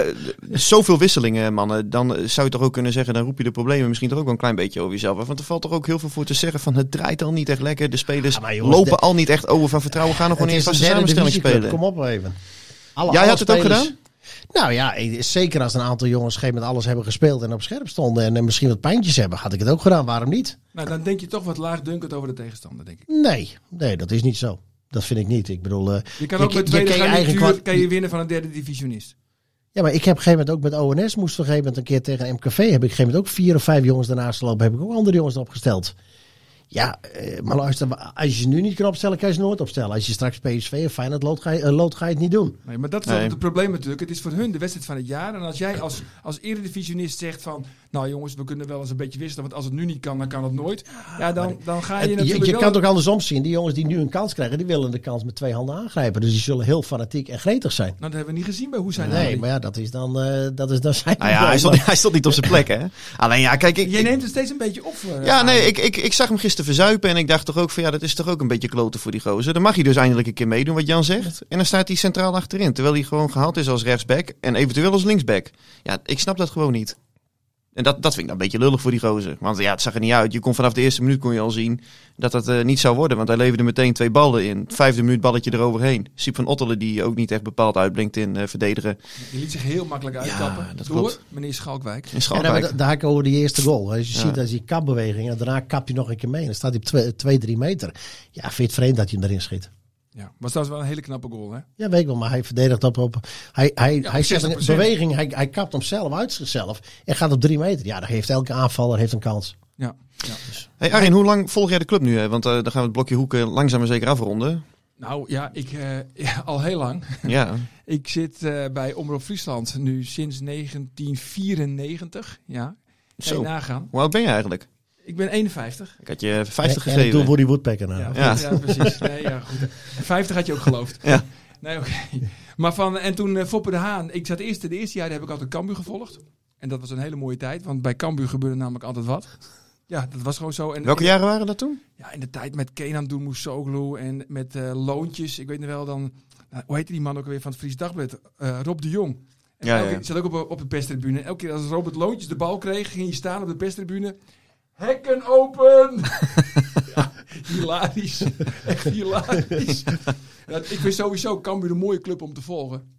Speaker 1: zoveel wisselingen, mannen. Dan eh, zou je toch ook kunnen zeggen, dan roep je de problemen misschien toch ook wel een klein beetje over jezelf. af. Want er valt toch ook heel veel voor te zeggen van het draait al niet echt lekker. De spelers
Speaker 3: Ja, maar jongens,
Speaker 1: lopen
Speaker 3: de-
Speaker 1: al niet echt over van vertrouwen. Gaan nog gewoon in
Speaker 3: Het
Speaker 1: een
Speaker 3: is
Speaker 1: vaste
Speaker 3: een derde
Speaker 1: samenstelling
Speaker 3: divisieclub,
Speaker 1: spelen.
Speaker 3: Kom op even. Alle-
Speaker 1: Jij
Speaker 3: alle
Speaker 1: had het ook
Speaker 3: spelers-
Speaker 1: gedaan?
Speaker 3: Nou ja, ik- zeker als een aantal jongens op een gegeven moment alles hebben gespeeld en op scherp stonden en eh, misschien wat pijntjes hebben, had ik het ook gedaan. Waarom niet?
Speaker 2: Nou, dan denk je toch wat laagdunkend over de tegenstander, denk ik.
Speaker 3: Nee, nee, dat is niet zo. Dat vind ik niet. Ik bedoel, eh,
Speaker 2: Je kan ook
Speaker 3: je-
Speaker 2: met
Speaker 3: je
Speaker 2: tweede
Speaker 3: kan je eigen
Speaker 2: garnituur
Speaker 3: kwa-
Speaker 2: kan je winnen van een derde divisionist.
Speaker 3: ja, maar ik heb op een gegeven moment ook met ONS moest op een gegeven moment een keer tegen MKV. Heb ik op een gegeven moment ook vier of vijf jongens daarnaast gelopen. Heb ik ook andere jongens opgesteld. Ja, eh, maar luister, als je ze nu niet kan opstellen, kan je ze nooit opstellen. Als je straks PSV of Feyenoord loopt, ga je, eh, loopt, ga je het niet doen.
Speaker 2: Nee, maar dat is
Speaker 1: Nee.
Speaker 2: altijd het probleem natuurlijk. Het is voor hun de wedstrijd van het jaar. En als jij als, als eredivisionist zegt van... Nou jongens, we kunnen wel eens een beetje wisselen. Want als het nu niet kan, dan kan het nooit. Ja, dan, dan ga je
Speaker 3: En Je,
Speaker 2: natuurlijk
Speaker 3: je
Speaker 2: wel...
Speaker 3: kan het ook andersom zien. Die jongens die nu een kans krijgen, die willen de kans met twee handen aangrijpen. Dus die zullen heel fanatiek en gretig zijn.
Speaker 2: Nou, dat hebben we niet gezien bij hoe zijn nou-
Speaker 3: Nee, maar ja, dat is dan, eh, dat is dan zijn.
Speaker 1: Nou ja, hij stond, hij stond niet op zijn plek, hè. Alleen ja, kijk, ik,
Speaker 2: Jij neemt het steeds een beetje op. voor, eh,
Speaker 1: Ja, nee,
Speaker 2: Ajax.
Speaker 1: ik, ik, ik zag hem gisteren verzuipen en ik dacht toch ook van ja, dat is toch ook een beetje kloten voor die gozer. Dan mag hij dus eindelijk een keer meedoen wat Jan zegt. En dan staat hij centraal achterin, terwijl hij gewoon gehaald is als rechtsback en eventueel als linksback. Ja, ik snap dat gewoon niet. En dat, dat vind ik dan een beetje lullig voor die gozer. Want ja, het zag er niet uit. Je kon vanaf de eerste minuut kon je al zien dat dat eh, niet zou worden. Want hij leverde meteen twee ballen in. Vijfde minuut balletje eroverheen. Siep van Ottelen die ook niet echt bepaald uitblinkt in eh, verdedigen.
Speaker 2: Je liet zich heel makkelijk uitkappen.
Speaker 1: dat
Speaker 2: door
Speaker 1: klopt.
Speaker 2: meneer Schalkwijk.
Speaker 1: In
Speaker 3: En dan,
Speaker 1: Schalkwijk.
Speaker 3: daar heb ik over die eerste goal. Als je
Speaker 1: Ja.
Speaker 3: ziet, dat is die kapbeweging. En daarna kap je nog een keer mee. En dan staat hij op twee, twee, drie meter. Ja, vind je het vreemd dat hij hem erin schiet?
Speaker 2: Ja, was dat wel een hele knappe goal, hè?
Speaker 3: Ja, weet ik wel. Maar hij verdedigt op... op hij hij,
Speaker 2: Ja,
Speaker 3: hij zet een
Speaker 2: 60%.
Speaker 3: beweging. Hij, hij kapt hem zelf uit zichzelf. En gaat op drie meter. Ja, dan heeft elke aanvaller heeft een kans.
Speaker 2: Ja. ja.
Speaker 1: Hey Arjen, hoe lang volg jij de club nu? Hè? Want eh, dan gaan we het blokje hoeken langzaam maar zeker afronden.
Speaker 2: Nou ja, ik, eh, ja, al heel lang.
Speaker 1: Ja.
Speaker 2: Ik zit eh, bij Omroep Friesland nu sinds 1994. Ja, kan
Speaker 1: Zo.
Speaker 2: je nagaan.
Speaker 1: Hoe oud ben je eigenlijk?
Speaker 2: Ik ben 51.
Speaker 1: Ik had je 50
Speaker 3: en, En
Speaker 1: gegeven.
Speaker 3: toen Woody Woodpecker nou.
Speaker 2: Ja,
Speaker 1: Ja.
Speaker 2: ja. precies. Nee, ja, goed. 50 had je ook geloofd.
Speaker 1: Ja.
Speaker 2: Nee, oké. Maar van, en toen eh, Foppe de Haan. Ik zat eerst, de eerste jaren heb ik altijd Cambuur gevolgd. En dat was een hele mooie tijd, want bij Cambuur gebeurde namelijk altijd wat. Ja, dat was gewoon zo. En
Speaker 1: Welke jaren waren dat toen?
Speaker 2: Ja, in de tijd met Kenan Doemoussoglu en met eh, Loontjes. Ik weet nog wel dan... nou, hoe heette die man ook alweer van het Fries Dagblad? Eh, Rob de Jong. En
Speaker 1: Ja,
Speaker 2: elke,
Speaker 1: ja.
Speaker 2: ik zat ook op, op de perstribune. Elke keer als Robert Loontjes de bal kreeg, ging hij staan op de perstribune. Hekken open! ja, hilarisch. Echt hilarisch. Ja, ik vind sowieso Cambuur een mooie club om te volgen.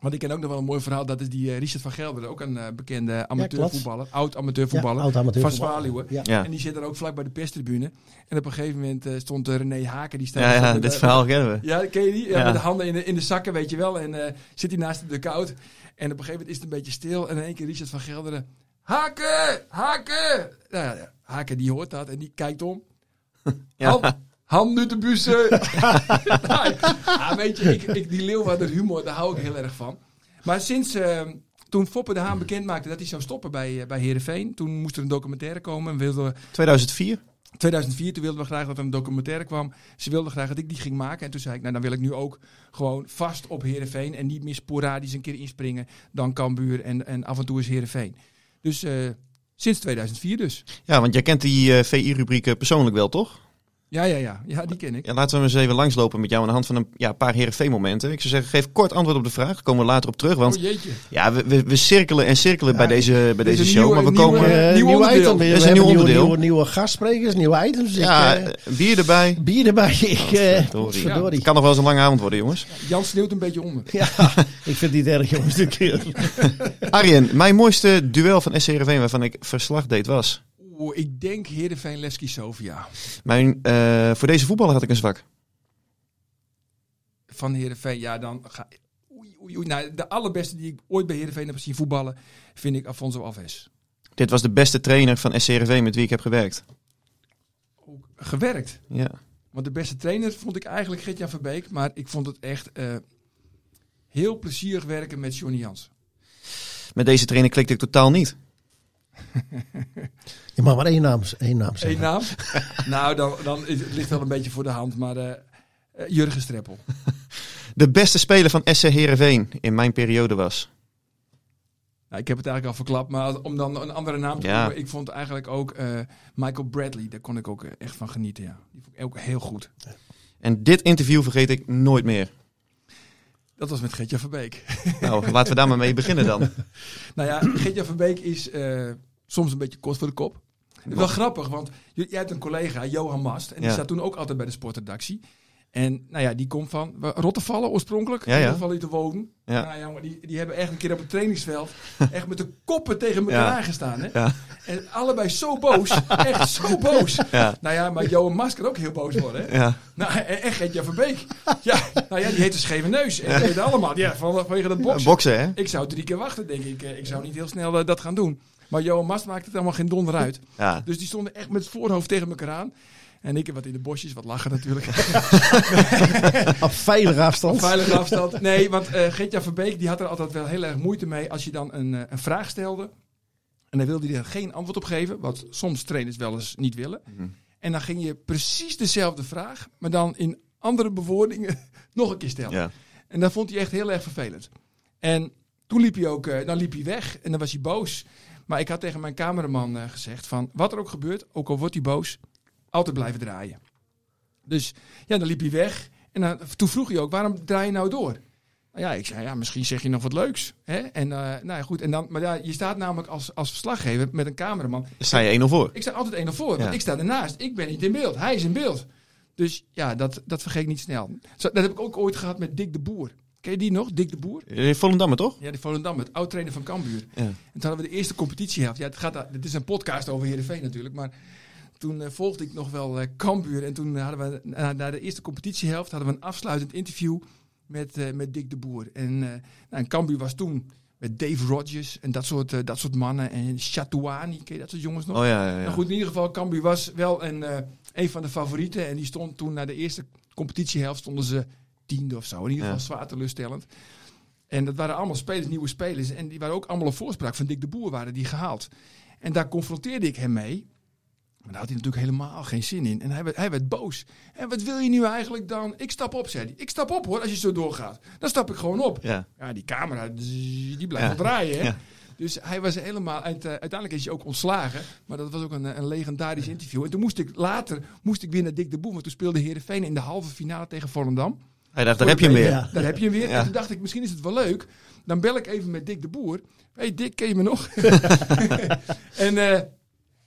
Speaker 2: Want ik ken ook nog wel een mooi verhaal. Dat is die eh, Richard van Gelderen, ook een eh, bekende amateurvoetballer. oud amateurvoetballer.
Speaker 3: oud amateurvoetballer.
Speaker 2: Van Zwaluwen.
Speaker 3: Ja.
Speaker 1: Ja.
Speaker 2: En die zit er ook vlak bij de perstribune. En op een gegeven moment eh, stond eh, René Haken. Die staat
Speaker 1: Ja, ja,
Speaker 2: stond met,
Speaker 1: dit
Speaker 2: eh,
Speaker 1: verhaal kennen we.
Speaker 2: Ja, ken je die? Ja,
Speaker 1: Ja.
Speaker 2: Met de handen in de, in de zakken, weet je wel. En eh, zit hij naast de dugout. En op een gegeven moment is het een beetje stil. En in één keer Richard van Gelderen. Haken! Haken! Nou ja, ja, Haken die hoort dat en die kijkt om.
Speaker 1: Ja.
Speaker 2: Han, Han nu de bussen. ja, weet je, ik, ik, die Leeuwarder humor, daar hou ik heel erg van. Maar sinds eh, toen Foppe de Haan bekend maakte dat hij zou stoppen bij, eh, bij Heerenveen. Toen moest er een documentaire komen en wilden we
Speaker 1: 2004.
Speaker 2: 2004, toen wilden we graag dat er een documentaire kwam. Ze wilden graag dat ik die ging maken. En toen zei ik, nou dan wil ik nu ook gewoon vast op Heerenveen. En niet meer sporadisch een keer inspringen dan Cambuur en, en af en toe is Heerenveen. Dus eh, sinds 2004 dus.
Speaker 1: Ja, want jij kent die eh, VI-rubriek eh, persoonlijk wel, toch?
Speaker 2: Ja, ja, ja. Ja, die ken ik.
Speaker 1: Ja, laten we hem eens even langslopen met jou aan de hand van een ja, paar Heerenveen-momenten. Ik zou zeggen, geef kort antwoord op de vraag. Daar komen we later op terug, want
Speaker 2: oh jeetje.
Speaker 1: ja, we, we, we cirkelen en cirkelen bij deze, bij
Speaker 2: dit is
Speaker 1: deze
Speaker 2: een
Speaker 1: show.
Speaker 2: nieuwe-
Speaker 1: maar we
Speaker 2: nieuwe-
Speaker 1: komen...
Speaker 3: Eh,
Speaker 2: Nieuw onderdeel.
Speaker 3: item. We
Speaker 1: Dit is Dus een
Speaker 3: hebben
Speaker 1: nieuw
Speaker 3: nieuwe-
Speaker 1: onderdeel.
Speaker 3: Nieuwe, nieuwe gastsprekers, nieuwe items.
Speaker 1: ja,
Speaker 3: Ik, eh,
Speaker 1: eh, bier erbij.
Speaker 3: bier erbij. Ik, eh,
Speaker 1: Verdorie.
Speaker 3: verdorie.
Speaker 1: Het kan nog wel eens een lange avond worden, jongens.
Speaker 2: Jan sneeuwt een beetje onder.
Speaker 3: Ja, ik vind die derde jongens dit keer.
Speaker 1: Arjen, mijn mooiste duel van SC Heerenveen waarvan ik verslag deed was...
Speaker 2: Oeh, ik denk Heerenveen Leski Sofia.
Speaker 1: Mijn, eh, voor deze voetballer had ik een zwak.
Speaker 2: van Heerenveen, ja, dan ga oei, oei, oei. Nou, de allerbeste die ik ooit bij Heerenveen heb zien voetballen, vind ik Alfonso Alves.
Speaker 1: Dit was de beste trainer van SCRV met wie ik heb gewerkt.
Speaker 2: Ook gewerkt.
Speaker 1: Ja.
Speaker 2: Want de beste trainer vond ik eigenlijk Gertjan Verbeek, maar ik vond het echt eh, heel plezierig werken met Johnny Jans.
Speaker 1: Met deze trainer klikte ik totaal niet.
Speaker 3: Je mag maar één naam, één naam zeggen.
Speaker 2: Eén naam? nou, dan, dan is- het ligt wel een beetje voor de hand, maar eh, eh, Jurgen Streppel.
Speaker 1: De beste speler van SC Heerenveen in mijn periode was.
Speaker 2: Nou, ik heb het eigenlijk al verklapt, maar als- om dan een andere naam te
Speaker 1: Ja.
Speaker 2: noemen. Ik vond eigenlijk ook eh, Michael Bradley, daar kon ik ook eh, echt van genieten. Ja. Die vond ik ook heel goed.
Speaker 1: En dit interview vergeet ik nooit meer.
Speaker 2: Dat was met Gertjan Verbeek.
Speaker 1: Nou, laten we daar maar mee beginnen dan.
Speaker 2: nou ja, Gertjan Verbeek is eh, soms een beetje kort voor de kop. Wel grappig, want j- jij hebt een collega, Johan Mast, en die
Speaker 1: Ja.
Speaker 2: staat toen ook altijd bij de sportredactie. En nou ja, die komt van wa- Rottevallen oorspronkelijk,
Speaker 1: Ja, ja.
Speaker 2: in ieder geval niet te wonen.
Speaker 1: Ja.
Speaker 2: Nou, jongen, die, die hebben echt een keer op het trainingsveld echt met de koppen tegen elkaar gestaan. Hè?
Speaker 1: Ja.
Speaker 2: En allebei zo boos, echt zo boos.
Speaker 1: Ja.
Speaker 2: Nou ja, maar Johan Mast kan ook heel boos worden. Hè?
Speaker 1: Ja.
Speaker 2: Nou, en, en Gert-Jan Verbeek. Ja, nou ja, die heet een scheve neus. En die weten allemaal, ja, van- vanwege dat boksen.
Speaker 1: Boksen, hè?
Speaker 2: Ik zou drie keer wachten, denk ik. Eh, Ik zou niet heel snel eh, dat gaan doen. Maar Johan Mast maakt het allemaal geen donder uit.
Speaker 1: Ja.
Speaker 2: Dus die stonden echt met het voorhoofd tegen elkaar aan. En ik heb wat in de bosjes, wat lachen natuurlijk.
Speaker 3: Op veilige afstand.
Speaker 2: Veilige afstand. Nee, want eh Gertjan Verbeek die had er altijd wel heel erg moeite mee als je dan een, eh, een vraag stelde. En dan wilde hij er geen antwoord op geven, wat soms trainers wel eens niet willen. En dan ging je precies dezelfde vraag, maar dan in andere bewoordingen nog een keer stellen.
Speaker 1: Ja.
Speaker 2: En dat vond hij echt heel erg vervelend. En toen liep hij ook, eh, dan liep hij weg en dan was hij boos. Maar ik had tegen mijn cameraman eh, gezegd van, wat er ook gebeurt, ook al wordt hij boos, altijd blijven draaien. Dus ja, dan liep hij weg en dan, toen vroeg hij ook, waarom draai je nou door? Nou ja, ik zei, ja, misschien zeg je nog wat leuks. Hè? En, eh, nou ja, goed, en dan, maar ja, je staat namelijk als, als verslaggever met een cameraman.
Speaker 1: Daar sta je 1-0 voor.
Speaker 2: Ik sta altijd één nog voor, want
Speaker 1: Ja.
Speaker 2: ik sta ernaast. Ik ben niet in beeld, hij is in beeld. Dus ja, dat, dat vergeet ik niet snel. Zo, dat heb ik ook ooit gehad met Dick de Boer. Ken je die nog, Dick de Boer?
Speaker 1: Eh, Volendammer, toch?
Speaker 2: Ja, die Volendam, het oud-trainer van Cambuur.
Speaker 1: Ja.
Speaker 2: En toen hadden we de eerste competitiehelft. Ja, het, gaat, daar- dit is een podcast over Heerenveen natuurlijk, maar toen eh, volgde ik nog wel eh Cambuur. En toen hadden we, na, na de eerste competitiehelft, hadden we een afsluitend interview met, eh, met Dick de Boer. En, eh nou, en Cambuur was toen met Dave Rodgers en dat soort, eh, dat soort mannen. En Chatouani, ken je dat soort jongens nog?
Speaker 1: Oh ja, ja,
Speaker 2: Nou
Speaker 1: ja.
Speaker 2: goed, in ieder geval, Cambuur was wel een, eh, een van de favorieten. En die stond toen na de eerste competitiehelft stonden ze tiende of zo. In ieder geval
Speaker 1: Ja.
Speaker 2: zwaar teleurstellend. En dat waren allemaal spelers, nieuwe spelers. En die waren ook allemaal op voorspraak van Dick de Boer waren die gehaald. En daar confronteerde ik hem mee. Maar daar had hij natuurlijk helemaal geen zin in. En hij werd, hij werd boos. En wat wil je nu eigenlijk dan? Ik stap op, zei hij. Ik stap op hoor, als je zo doorgaat. Dan stap ik gewoon op.
Speaker 1: Ja.
Speaker 2: Ja, die camera, zzz, die blijft
Speaker 1: Ja.
Speaker 2: wel draaien. Hè?
Speaker 1: Ja.
Speaker 2: Dus hij was helemaal, uit- eh, uiteindelijk is hij ook ontslagen. Maar dat was ook een, eh, een legendarisch interview. En toen moest ik later moest ik weer naar Dick de Boer. Want toen speelde Heerenveen in de halve finale tegen Volendam.
Speaker 1: Hij dacht, daar heb je hem weer.
Speaker 3: Ja.
Speaker 2: Daar heb je hem weer.
Speaker 1: Ja.
Speaker 2: En toen dacht ik, misschien is het wel leuk. Dan bel ik even met Dick de Boer. Hé hey Dick, ken je me nog? en eh,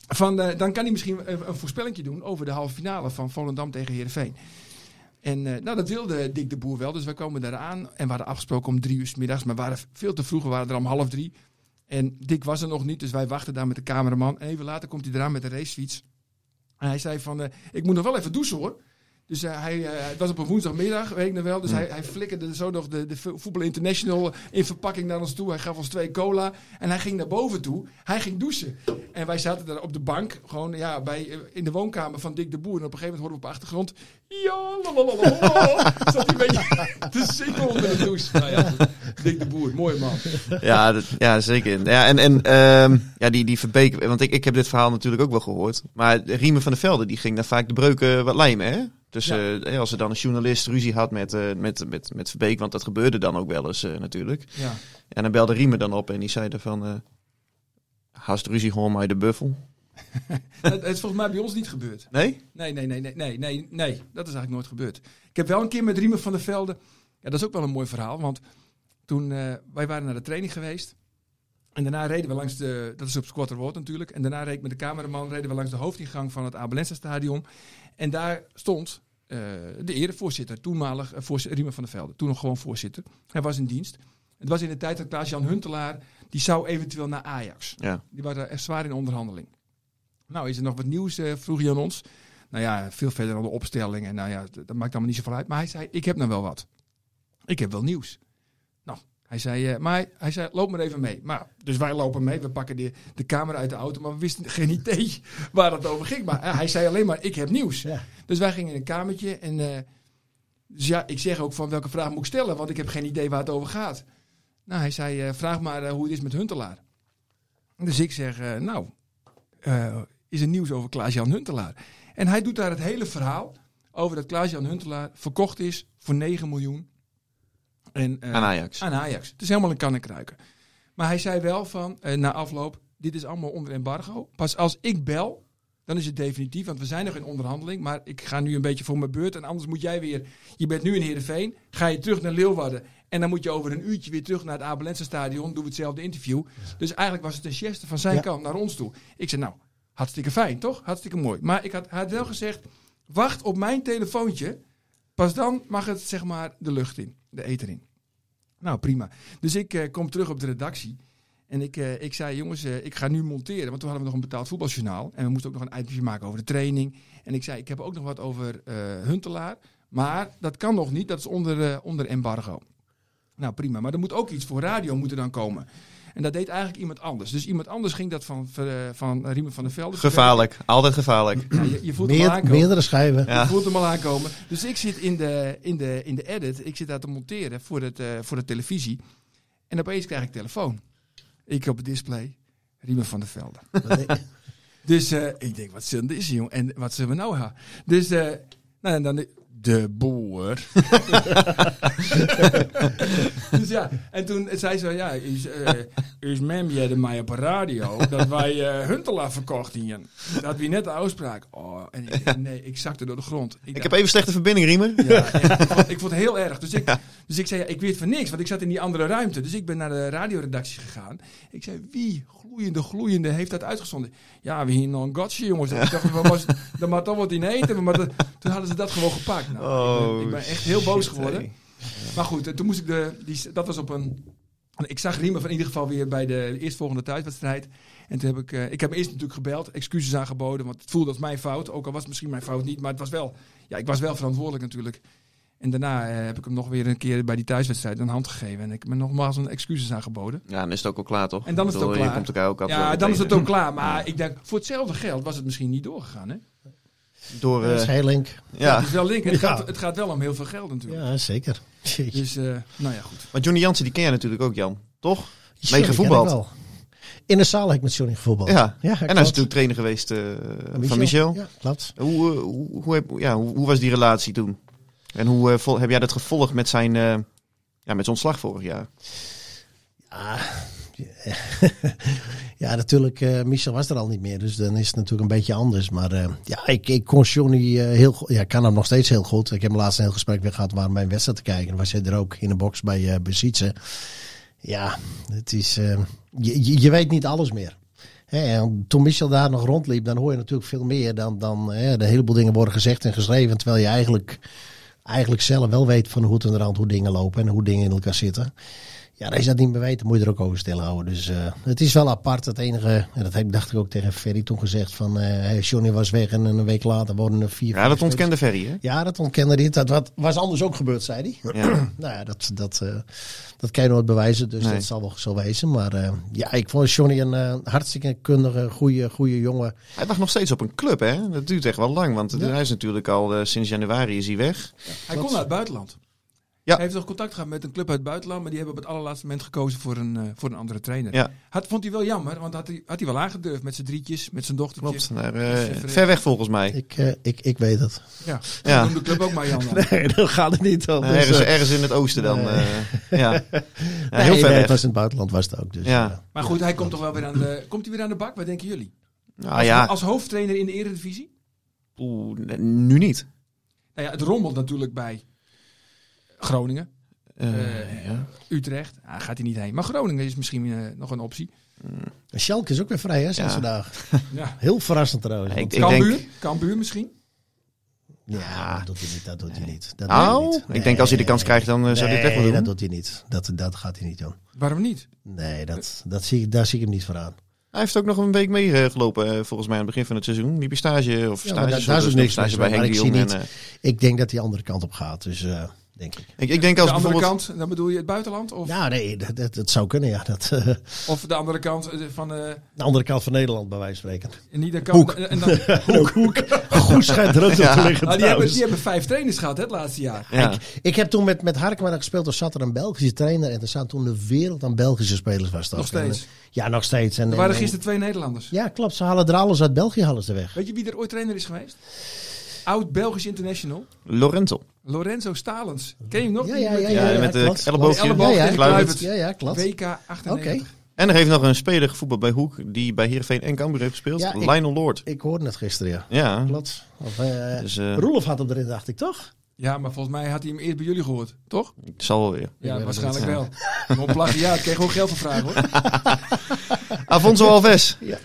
Speaker 2: van, eh, dan kan hij misschien een, een voorspellingje doen over de halve finale van Volendam tegen Heerenveen. En eh, nou, dat wilde Dick de Boer wel, dus wij komen daar aan. En we hadden afgesproken om drie uur 's middags, maar we waren veel te vroeg. We waren er om half drie. En Dick was er nog niet, dus wij wachten daar met de cameraman. En even later komt hij eraan met de racefiets. En hij zei van, eh, ik moet nog wel even douchen hoor. Dus eh, hij, eh, het was op een woensdagmiddag, weet ik nog wel. Dus hij, hij flikkerde zo nog de, de Voetbal International in verpakking naar ons toe. Hij gaf ons twee cola en hij ging naar boven toe. Hij ging douchen. En wij zaten daar op de bank, gewoon ja, bij, eh, in de woonkamer van Dick de Boer. En op een gegeven moment hoorden we op de achtergrond... Ja, lalalala, zat hij een beetje te zingen onder de douche. Nou ja, Dick de Boer, mooi man.
Speaker 1: Ja, dat- ja zeker. Ja, en en ehm, ja, die, die Verbeek, want ik, ik heb dit verhaal natuurlijk ook wel gehoord. Maar Riemen van der Velde, die ging dan vaak de breuken wat lijmen, hè? Dus
Speaker 2: Ja.
Speaker 1: eh, als er dan een journalist ruzie had met, eh, met, met, met Verbeek, want dat gebeurde dan ook wel eens eh, natuurlijk.
Speaker 2: Ja.
Speaker 1: En dan belde Riemen dan op en die zei dan van... eh Haast ruzie gewoon maar de buffel.
Speaker 2: Het, het is volgens mij bij ons niet gebeurd.
Speaker 1: Nee?
Speaker 2: Nee, nee, nee, nee, nee, nee, nee. Dat is eigenlijk nooit gebeurd. Ik heb wel een keer met Riemen van der Velde. Ja, dat is ook wel een mooi verhaal. Want toen eh, wij waren naar de training geweest. En daarna reden we langs de. Dat is op Squatter Road natuurlijk. En daarna reed ik met de cameraman. Reden we langs de hoofdingang van het Abelense Stadion. En daar stond eh, de erevoorzitter. Toenmalig eh, voorzitter, Riemen van der Velde. Toen nog gewoon voorzitter. Hij was in dienst. Het was in de tijd dat Klaas-Jan Huntelaar. Die zou eventueel naar Ajax.
Speaker 1: Ja.
Speaker 2: Die waren echt zwaar in onderhandeling. Nou, is er nog wat nieuws? eh, vroeg hij aan ons. Nou ja, veel verder dan de opstelling. En nou ja, d- dat maakt allemaal niet zoveel uit. Maar hij zei, ik heb nou wel wat. ik heb wel nieuws. Nou, hij zei, eh, maar hij zei, loop maar even mee. Maar, dus wij lopen mee, we pakken de, de camera uit de auto, maar we wisten geen idee waar het over ging. Maar eh, hij zei alleen maar, ik heb nieuws.
Speaker 3: Ja.
Speaker 2: Dus wij gingen in een kamertje en eh, dus ja, ik zeg ook van welke vraag moet ik stellen, want ik heb geen idee waar het over gaat. Nou, hij zei, eh, vraag maar eh, hoe het is met Huntelaar. Dus ik zeg, eh, nou, eh, is er nieuws over Klaas-Jan Huntelaar? En hij doet daar het hele verhaal over dat Klaas-Jan Huntelaar verkocht is voor 9 miljoen. En, eh,
Speaker 1: Aan Ajax.
Speaker 2: aan Ajax. Het is helemaal een kannenkruiker. Maar hij zei wel van, eh, na afloop, dit is allemaal onder embargo. Pas als ik bel, dan is het definitief, want we zijn nog in onderhandeling. Maar ik ga nu een beetje voor mijn beurt. En anders moet jij weer, je bent nu in Heerenveen, ga je terug naar Leeuwarden. En dan moet je over een uurtje weer terug naar het Abelense stadion, doen we hetzelfde interview. Dus eigenlijk was het een geste van zijn
Speaker 3: Ja.
Speaker 2: kant naar ons toe. Ik zei, nou, hartstikke fijn, toch? Hartstikke mooi. Maar ik had, had wel gezegd, wacht op mijn telefoontje. Pas dan mag het, zeg maar, de lucht in, de eter in. Nou, prima. Dus ik eh, kom terug op de redactie. En ik, eh, ik zei, jongens, eh, ik ga nu monteren. Want toen hadden we nog een betaald voetbaljournaal. En we moesten ook nog een itemje maken over de training. En ik zei, ik heb ook nog wat over eh, Huntelaar. Maar dat kan nog niet, dat is onder, eh, onder embargo. Nou, prima. Maar er moet ook iets voor radio moeten dan komen. En dat deed eigenlijk iemand anders. Dus iemand anders ging dat van, van, eh, van Riemen van der Velde.
Speaker 1: Gevaarlijk. Altijd gevaarlijk.
Speaker 2: Ja, je, je voelt hem al
Speaker 3: Meer,
Speaker 2: aankomen.
Speaker 3: meerdere schijven.
Speaker 1: Ja.
Speaker 2: Je voelt hem al aankomen. Dus ik zit in de, in de, in de edit. Ik zit daar te monteren voor, het, eh, voor de televisie. En opeens krijg ik telefoon. Ik op het display. Riemen van der Velde. Dus eh, ik denk, wat zullen dit is, jong? En wat zullen we nou gaan? Dus, eh, nou en dan... De boer. dus ja, en toen zei ze, ja, is, eh is mem jij mij op de radio dat wij eh, Huntelaar verkochten hier? Dat we net de uitspraak. Oh, en ik- nee, ik zakte door de grond.
Speaker 1: Ik
Speaker 2: dacht,
Speaker 1: heb even slechte verbinding, Riemen.
Speaker 2: ja, echt. ik, vond, ik vond het heel erg. Dus ik, dus ik zei, ja, ik weet van niks, want ik zat in die andere ruimte. Dus ik ben naar de radioredactie gegaan. Ik zei, wie gloeiende, gloeiende heeft dat uitgezonden? Ja, we hier nog een gotcha, jongens. Ik dacht, wat was, er mag toch wat in eten. Maar dat- toen hadden ze dat gewoon gepakt. Nou, ik, ben, ik ben echt heel boos
Speaker 1: shit,
Speaker 2: geworden.
Speaker 1: hey.
Speaker 2: Maar goed, eh, toen moest ik de. Die, dat was op een. Ik zag Riemen van in ieder geval weer bij de eerstvolgende thuiswedstrijd. En toen heb ik. eh, ik heb hem eerst natuurlijk gebeld, excuses aangeboden. Want het voelde als mijn fout. Ook al was het misschien mijn fout niet. Maar het was wel. Ja, ik was wel verantwoordelijk natuurlijk. En daarna eh, heb ik hem nog weer een keer bij die thuiswedstrijd een hand gegeven. En ik heb hem nogmaals een excuses aangeboden.
Speaker 1: Ja, dan is het ook al klaar, toch?
Speaker 2: En dan is het
Speaker 1: Ik
Speaker 2: ook
Speaker 1: bedoel,
Speaker 2: klaar.
Speaker 1: Je komt elkaar ook af.
Speaker 2: ja, dan is het ook klaar. Maar ik denk, voor hetzelfde geld was het misschien niet doorgegaan. Hè?
Speaker 1: Door... eh,
Speaker 3: Scheelink.
Speaker 2: Het
Speaker 1: ja.
Speaker 2: is wel link. Het,
Speaker 3: Ja.
Speaker 2: gaat, het gaat wel om heel veel geld natuurlijk.
Speaker 3: Ja, zeker. Jeetje.
Speaker 2: Dus, eh, nou ja, goed.
Speaker 1: Maar Johnny Jansen, die ken jij natuurlijk ook, Jan. Toch?
Speaker 3: Johnny ken ik
Speaker 1: gevoetbald.
Speaker 3: wel. In de zaal heb ik met Johnny gevoetbald.
Speaker 1: Ja.
Speaker 3: ja
Speaker 1: en hij is natuurlijk trainer geweest eh, van Michel.
Speaker 3: Ja, klopt.
Speaker 1: Hoe, eh, hoe, hoe, heb- ja, hoe, hoe was die relatie toen? En hoe eh, vol- heb jij dat gevolgd met zijn, eh, ja, met zijn ontslag vorig jaar?
Speaker 3: Ah, ja, natuurlijk. eh, Michel was er al niet meer, dus dan is het natuurlijk een beetje anders. Maar eh, ja, ik, ik kon Johnny eh, heel goed. Ja, ik kan hem nog steeds heel goed. Ik heb hem laatst een heel gesprek weer gehad waar mijn wedstrijd te kijken. Dan was hij er ook in de box bij eh bij Sietse. Ja, het is. eh, je, je, je weet niet alles meer. Hè, en toen Michel daar nog rondliep, dan hoor je natuurlijk veel meer dan. dan hè, de heleboel dingen worden gezegd en geschreven. Terwijl je eigenlijk, eigenlijk zelf wel weet van hoe het in de rand, hoe dingen lopen en hoe dingen in elkaar zitten. Ja, als je dat niet meer weet, dan moet je er ook over stilhouden. Dus eh, het is wel apart. Het enige, en dat heb, dacht ik ook tegen Ferry toen gezegd, van eh, hey, Johnny was weg en een week later worden er vier...
Speaker 1: Ja, dat ontkende Ferry, hè?
Speaker 3: Ja, dat ontkende dit. Dat wat, was anders ook gebeurd, zei hij.
Speaker 1: Ja.
Speaker 3: Nou ja, dat, dat, eh, dat kan je nooit bewijzen, dus
Speaker 1: Nee.
Speaker 3: dat zal wel zo wezen. Maar eh, ja, ik vond Johnny een eh, hartstikke kundige, goede, goede jongen.
Speaker 1: Hij wacht nog steeds op een club, hè? Dat duurt echt wel lang, want hij is natuurlijk al eh, sinds januari is hij weg.
Speaker 2: Hij kon naar het buitenland.
Speaker 1: Ja.
Speaker 2: Hij heeft nog contact gehad met een club uit het buitenland, maar die hebben op het allerlaatste moment gekozen voor een, eh, voor een andere trainer.
Speaker 1: Ja,
Speaker 2: Had, vond hij wel jammer, want had hij, had hij wel aangedurfd met zijn drietjes, met zijn dochtertje.
Speaker 1: klopt. Naar, eh,
Speaker 2: Dus, eh,
Speaker 1: ver weg volgens mij.
Speaker 3: Ik, eh, ik, ik weet het.
Speaker 2: Ja,
Speaker 1: Ja.
Speaker 2: ja. noemde de club ook maar Jan. dan.
Speaker 3: Nee, daar gaat het niet om.
Speaker 1: Eh,
Speaker 3: Dus,
Speaker 1: ergens,
Speaker 3: eh,
Speaker 1: ergens in het oosten dan.
Speaker 3: nee.
Speaker 1: eh, ja. Ja,
Speaker 3: nee,
Speaker 1: heel ver
Speaker 3: nee,
Speaker 1: weg.
Speaker 3: het was in het buitenland, was het ook. Dus,
Speaker 1: eh, Ja.
Speaker 3: eh,
Speaker 2: Maar goed, hij komt toch wel weer aan de, komt hij weer aan de bak, wat denken jullie?
Speaker 1: Nou
Speaker 2: Als,
Speaker 1: ja,
Speaker 2: als hoofdtrainer in de eredivisie?
Speaker 1: oeh, nee, nu niet.
Speaker 2: Nou ja, het rommelt natuurlijk bij Groningen,
Speaker 1: Eh, ja.
Speaker 2: Utrecht. Ah, gaat hij niet heen. Maar Groningen is misschien eh, nog een optie.
Speaker 3: Schalke is ook weer vrij, hè, sinds
Speaker 1: Ja.
Speaker 3: vandaag.
Speaker 2: Ja.
Speaker 3: Heel verrassend trouwens.
Speaker 1: Ik-
Speaker 3: want-
Speaker 1: ik
Speaker 2: Cambuur,
Speaker 1: denk-
Speaker 2: Cambuur misschien.
Speaker 3: Ja,
Speaker 1: Ja.
Speaker 3: dat doet hij niet. Dat doet hij niet. Dat doet hij
Speaker 1: Nou,
Speaker 3: niet.
Speaker 1: ik denk als hij de kans krijgt, dan eh, zou hij het echt
Speaker 3: Nee,
Speaker 1: wel
Speaker 3: dat
Speaker 1: doen.
Speaker 3: doet hij niet. Dat, dat gaat hij niet doen.
Speaker 2: Waarom niet?
Speaker 3: Nee, dat, dat zie, ik- daar zie ik hem niet voor aan.
Speaker 1: Hij heeft ook nog een week meegelopen, eh, volgens mij, aan het begin van het seizoen. Die stage of
Speaker 3: Ja, maar
Speaker 1: stage,
Speaker 3: daar- daar is ook niks
Speaker 1: stage
Speaker 3: mis
Speaker 1: bij
Speaker 3: mee,
Speaker 1: Henk de
Speaker 3: maar ik
Speaker 1: Jong.
Speaker 3: zie
Speaker 1: En,
Speaker 3: niet-
Speaker 1: eh,
Speaker 3: Ik denk dat hij de andere kant op gaat. Dus eh, denk ik.
Speaker 1: Ik, ik denk als
Speaker 2: de andere
Speaker 1: bijvoorbeeld...
Speaker 2: kant, dan bedoel je het buitenland? Of,
Speaker 3: Ja, nee, dat, dat, dat zou kunnen. Ja. Dat, eh,
Speaker 2: of de andere kant eh, van... eh,
Speaker 3: de andere kant van Nederland, bij wijze van spreken.
Speaker 2: niet de kant,
Speaker 3: Hoek.
Speaker 2: En dan,
Speaker 3: Hoek, hoek. Goed schijnt er ook nog te liggen
Speaker 2: Ah, die, hebben,
Speaker 3: trouwens.
Speaker 2: die hebben vijf trainers gehad hè, het laatste jaar.
Speaker 1: Ja.
Speaker 3: Ik heb toen met, met Harkema daar gespeeld. Er zat er een Belgische trainer. En er zaten toen de wereld aan Belgische spelers. Was dat.
Speaker 2: Nog steeds.
Speaker 3: En, eh, ja, nog steeds. En,
Speaker 2: Er waren
Speaker 3: en- en-
Speaker 2: gisteren twee Nederlanders.
Speaker 3: Ja, klopt. Ze halen er alles uit België halen ze weg.
Speaker 2: Weet je wie er ooit trainer is geweest? Oud-Belgisch international.
Speaker 1: Lorenzo.
Speaker 2: Lorenzo Stalens. Ken je hem nog?
Speaker 3: Ja,
Speaker 2: Die
Speaker 3: ja,
Speaker 2: met
Speaker 3: ja.
Speaker 2: de
Speaker 3: ja,
Speaker 1: Ja, met de
Speaker 3: klopt.
Speaker 1: elleboogje.
Speaker 3: Ja, ja,
Speaker 2: Elleboog
Speaker 3: klopt.
Speaker 2: tegen
Speaker 3: Ja, ja, klopt. Oké.
Speaker 2: WK 98.
Speaker 1: En er heeft nog een speler gevoetbald bij Hoek die bij Heerenveen en Cambuur heeft gespeeld.
Speaker 3: Ja, ik-
Speaker 1: Lionel Lord.
Speaker 3: Ik hoorde het gisteren,
Speaker 2: Mhm.
Speaker 3: ja.
Speaker 1: Ja.
Speaker 3: Klopt. Of, eh,
Speaker 1: Dus eh
Speaker 3: Roelof had hem erin, dacht ik, toch?
Speaker 2: Ja, maar volgens mij had hij hem eerst bij jullie gehoord, toch?
Speaker 1: ik zal wel weer.
Speaker 2: Ja,
Speaker 3: weet
Speaker 2: waarschijnlijk wel. Maar op plagiaat kreeg je gewoon geld voor vragen hoor.
Speaker 1: Afonso Alves.
Speaker 2: Ja,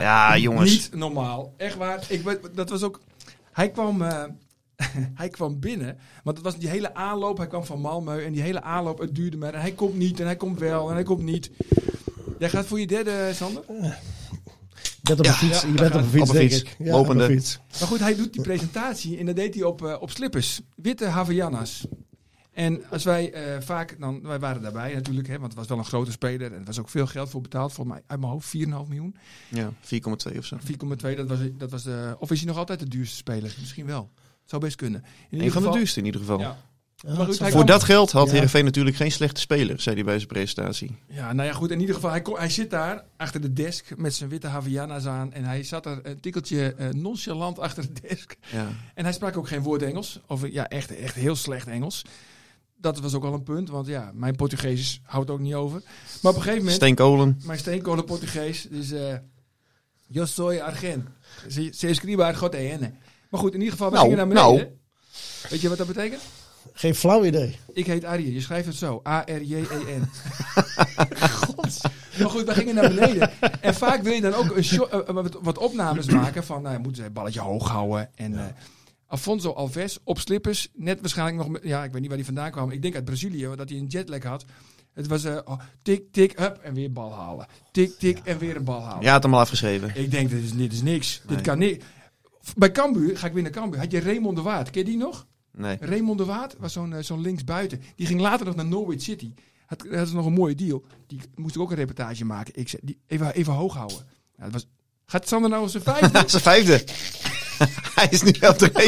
Speaker 1: Ja, jongens.
Speaker 2: niet normaal. Echt waar. Ik weet, dat was ook... Hij kwam, eh, hij kwam binnen, want het was die hele aanloop. Hij kwam van Malmö en die hele aanloop, het duurde maar. En hij komt niet en hij komt wel en hij komt niet. Jij gaat voor je derde, Sander?
Speaker 3: Je bent op een fiets,
Speaker 2: ja,
Speaker 3: je bent op een fiets,
Speaker 1: Op een
Speaker 3: denk
Speaker 1: fiets.
Speaker 3: ik.
Speaker 1: Lopende.
Speaker 3: op een fiets.
Speaker 2: Maar goed, hij doet die presentatie en dat deed hij op, eh, op slippers. Witte Havaianas. En als wij eh, vaak, dan, wij waren daarbij natuurlijk, hè, want het was wel een grote speler. En er was ook veel geld voor betaald, voor mij uit mijn hoofd 4,5 miljoen.
Speaker 1: Ja, 4,2 of zo.
Speaker 2: 4,2, dat was, dat was de, of is hij nog altijd de duurste speler? Misschien wel. Zou best kunnen. In
Speaker 1: Een van de duurste in ieder geval.
Speaker 2: Ja. Maar
Speaker 3: Ja,
Speaker 2: goed, hij
Speaker 1: Voor
Speaker 2: kwam-
Speaker 1: dat geld had
Speaker 3: Ja.
Speaker 1: Heerenveen natuurlijk geen slechte speler, zei hij bij zijn presentatie.
Speaker 2: Ja, nou ja, goed. In ieder geval, hij, ko- hij zit daar achter de desk met zijn witte Havaianas aan. En hij zat er een tikkeltje eh, nonchalant achter de desk.
Speaker 1: Ja.
Speaker 2: En hij sprak ook geen woord Engels. Of ja, echt, echt heel slecht Engels. Dat was ook al een punt, want ja, mijn Portugees houdt ook niet over. Maar op een gegeven moment,
Speaker 1: Steenkolen.
Speaker 2: mijn steenkolen Portugees, dus... eh Yo soy argen. Se se escriba argot ene. Maar goed, in ieder geval, we
Speaker 1: Nou,
Speaker 2: gingen naar beneden.
Speaker 1: nou.
Speaker 2: Weet je wat dat betekent?
Speaker 3: Geen flauw idee.
Speaker 2: Ik heet Arjen. Je schrijft het zo. A-R-J-E-N. God. E Maar goed, we gingen naar beneden. En vaak wil je dan ook een sho- eh, eh, wat, wat opnames maken van... Nou, moeten ze het balletje hoog houden. En eh, Afonso Alves op slippers. Net waarschijnlijk nog... met- Ja, ik weet niet waar die vandaan kwam. Ik denk uit Brazilië, want dat hij een jetlag had. Het was eh, oh, tik, tik, up en weer bal halen. Tik, tik en weer een bal halen.
Speaker 1: Ja, had hem al afgeschreven.
Speaker 2: Ik denk, dit is, dit is niks.
Speaker 1: Nee.
Speaker 2: Dit kan niet. Bij Cambuur, ga ik weer naar Cambuur, had je Raymond de Waard. Ken je die nog?
Speaker 1: Nee.
Speaker 2: Raymond de Waard was zo'n eh, zo'n linksbuiten. Die ging later nog naar Norwich City. Had, had ze nog een mooie deal. Die moest ik ook een reportage maken. Ik zei, die even, even hoog houden. Nou, dat was, gaat Sander nou zijn vijfde?
Speaker 1: Zijn vijfde. Hij is nu wel dreef.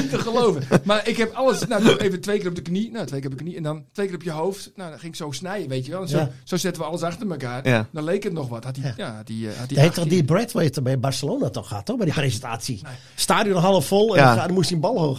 Speaker 2: niet te geloven. Maar ik heb alles... Nou, toen even twee keer op de knie. Nou, twee keer op de knie. En dan twee keer op je hoofd. Nou, dan ging ik zo snijden, weet je wel. En zo,
Speaker 3: Ja.
Speaker 2: zo zetten we alles achter elkaar.
Speaker 1: Ja.
Speaker 2: Dan leek het nog wat. Had hij...
Speaker 3: Ja.
Speaker 2: Ja. had hij, eh, had
Speaker 3: Die
Speaker 2: hij
Speaker 3: heeft toch
Speaker 2: acht
Speaker 3: die
Speaker 2: keer.
Speaker 3: Bradway heeft er bij Barcelona toch gehad, toch? Bij die presentatie. Stadion half vol en
Speaker 1: Ja.
Speaker 3: dan moest hij een bal hoog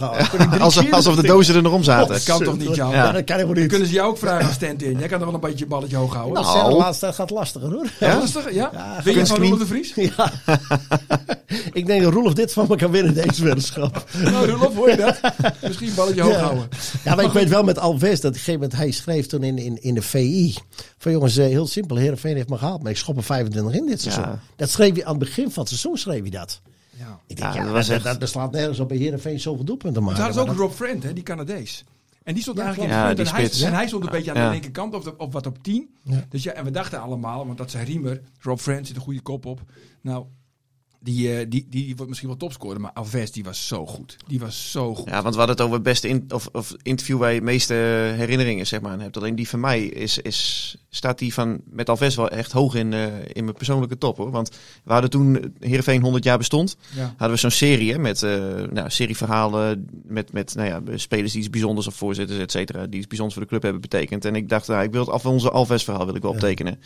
Speaker 3: houden.
Speaker 1: Alsof, alsof de dozen er nog om zaten.
Speaker 2: Dat kan toch niet, jou?
Speaker 3: Ja, dat kan helemaal niet.
Speaker 2: Kunnen ze jou ook vragen als stand-in? Jij kan toch wel een beetje je balletje hoog houden?
Speaker 3: Nou,
Speaker 1: Nou.
Speaker 3: Serre, de laatste tijd gaat lastiger, hoor.
Speaker 2: ja?
Speaker 1: Ja?
Speaker 2: Lastig, ja?
Speaker 3: Ja,
Speaker 2: Weet je van
Speaker 1: kunstknie.
Speaker 2: Roland de Vries?
Speaker 3: Ja. ik denk dat Roelof dit van me kan winnen, deze weddenschap.
Speaker 2: Nou, Roelof, hoor je dat? Misschien balletje hoog houden.
Speaker 3: Ja, maar ik weet wel met Alves dat op een gegeven moment hij schreef toen in, in, in de VI. Van jongens, eh, heel simpel, Heerenveen heeft me gehaald, maar ik schop er 25 in dit seizoen.
Speaker 1: Ja.
Speaker 3: Dat schreef hij aan het begin van het seizoen, schreef hij dat.
Speaker 2: Ja.
Speaker 3: Ik
Speaker 1: Ja,
Speaker 3: denk, ja,
Speaker 1: dat
Speaker 3: dat,
Speaker 1: was
Speaker 3: dat,
Speaker 1: echt-
Speaker 3: beslaat nergens op bij Heerenveen zoveel doelpunten maken.
Speaker 2: Toen hadden ze ook
Speaker 3: Maar
Speaker 2: Rob Friend, hè, die Canadees. En die stond
Speaker 3: Ja,
Speaker 2: eigenlijk
Speaker 1: klopt.
Speaker 2: in de
Speaker 1: Ja, die
Speaker 2: punt. en,
Speaker 1: spits.
Speaker 2: hij, en hij stond een beetje aan
Speaker 1: Ja.
Speaker 2: de linkerkant, op, de- op wat op 10.
Speaker 3: Ja.
Speaker 2: Dus ja, en we dachten allemaal, want dat is een riemer. Rob Friend zit een goede kop op. Nou, die, eh, die, die, die wordt misschien wel topscorer, maar Alves, die was zo goed. Die was zo goed.
Speaker 1: Ja, want we hadden het over het beste in, of, of interview waar je het meeste eh, herinneringen zeg maar, aan hebt. Alleen die van mij is, is, staat die van met Alves wel echt hoog in, eh, in mijn persoonlijke top. Hoor. Want we hadden toen eh, Heerenveen 100 jaar bestond.
Speaker 2: Ja.
Speaker 1: hadden we zo'n serie hè, met eh nou, serieverhalen met, met nou ja, spelers die iets bijzonders of voorzitters, et cetera, die iets bijzonders voor de club hebben betekend. En ik dacht, nou, ik wil het af onze Alves verhaal wil ik wel
Speaker 3: Ja.
Speaker 1: optekenen.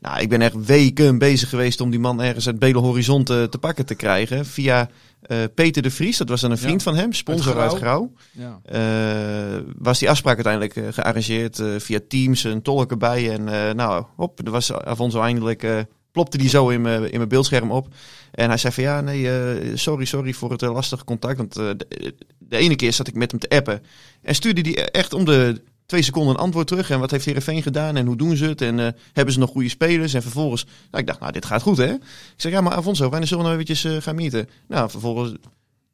Speaker 1: Nou, ik ben echt weken bezig geweest om die man ergens uit Bele Horizon te, te pakken te krijgen. Via eh, Peter de Vries, dat was dan een
Speaker 2: Ja.
Speaker 1: vriend van hem, sponsor
Speaker 2: Uit
Speaker 1: uit
Speaker 2: Grauw.
Speaker 1: Grauw.
Speaker 2: Ja.
Speaker 1: Eh, was die afspraak uiteindelijk eh, gearrangeerd eh, via Teams, een tolk erbij. En eh, nou, hop, er was Afonso eindelijk, eh, plopte die zo in mijn in mijn beeldscherm op. En hij zei van ja, nee, eh, sorry, sorry voor het eh, lastige contact. Want eh, de, de ene keer zat ik met hem te appen. En stuurde die echt om de twee seconden een antwoord terug. En wat heeft Heerenveen gedaan en hoe doen ze het? En eh, hebben ze nog goede spelers? En vervolgens, nou, ik dacht, nou, dit gaat goed hè. Ik zeg ja, maar Afonso, wanneer zullen we nou eventjes eh, gaan meeten? Nou, vervolgens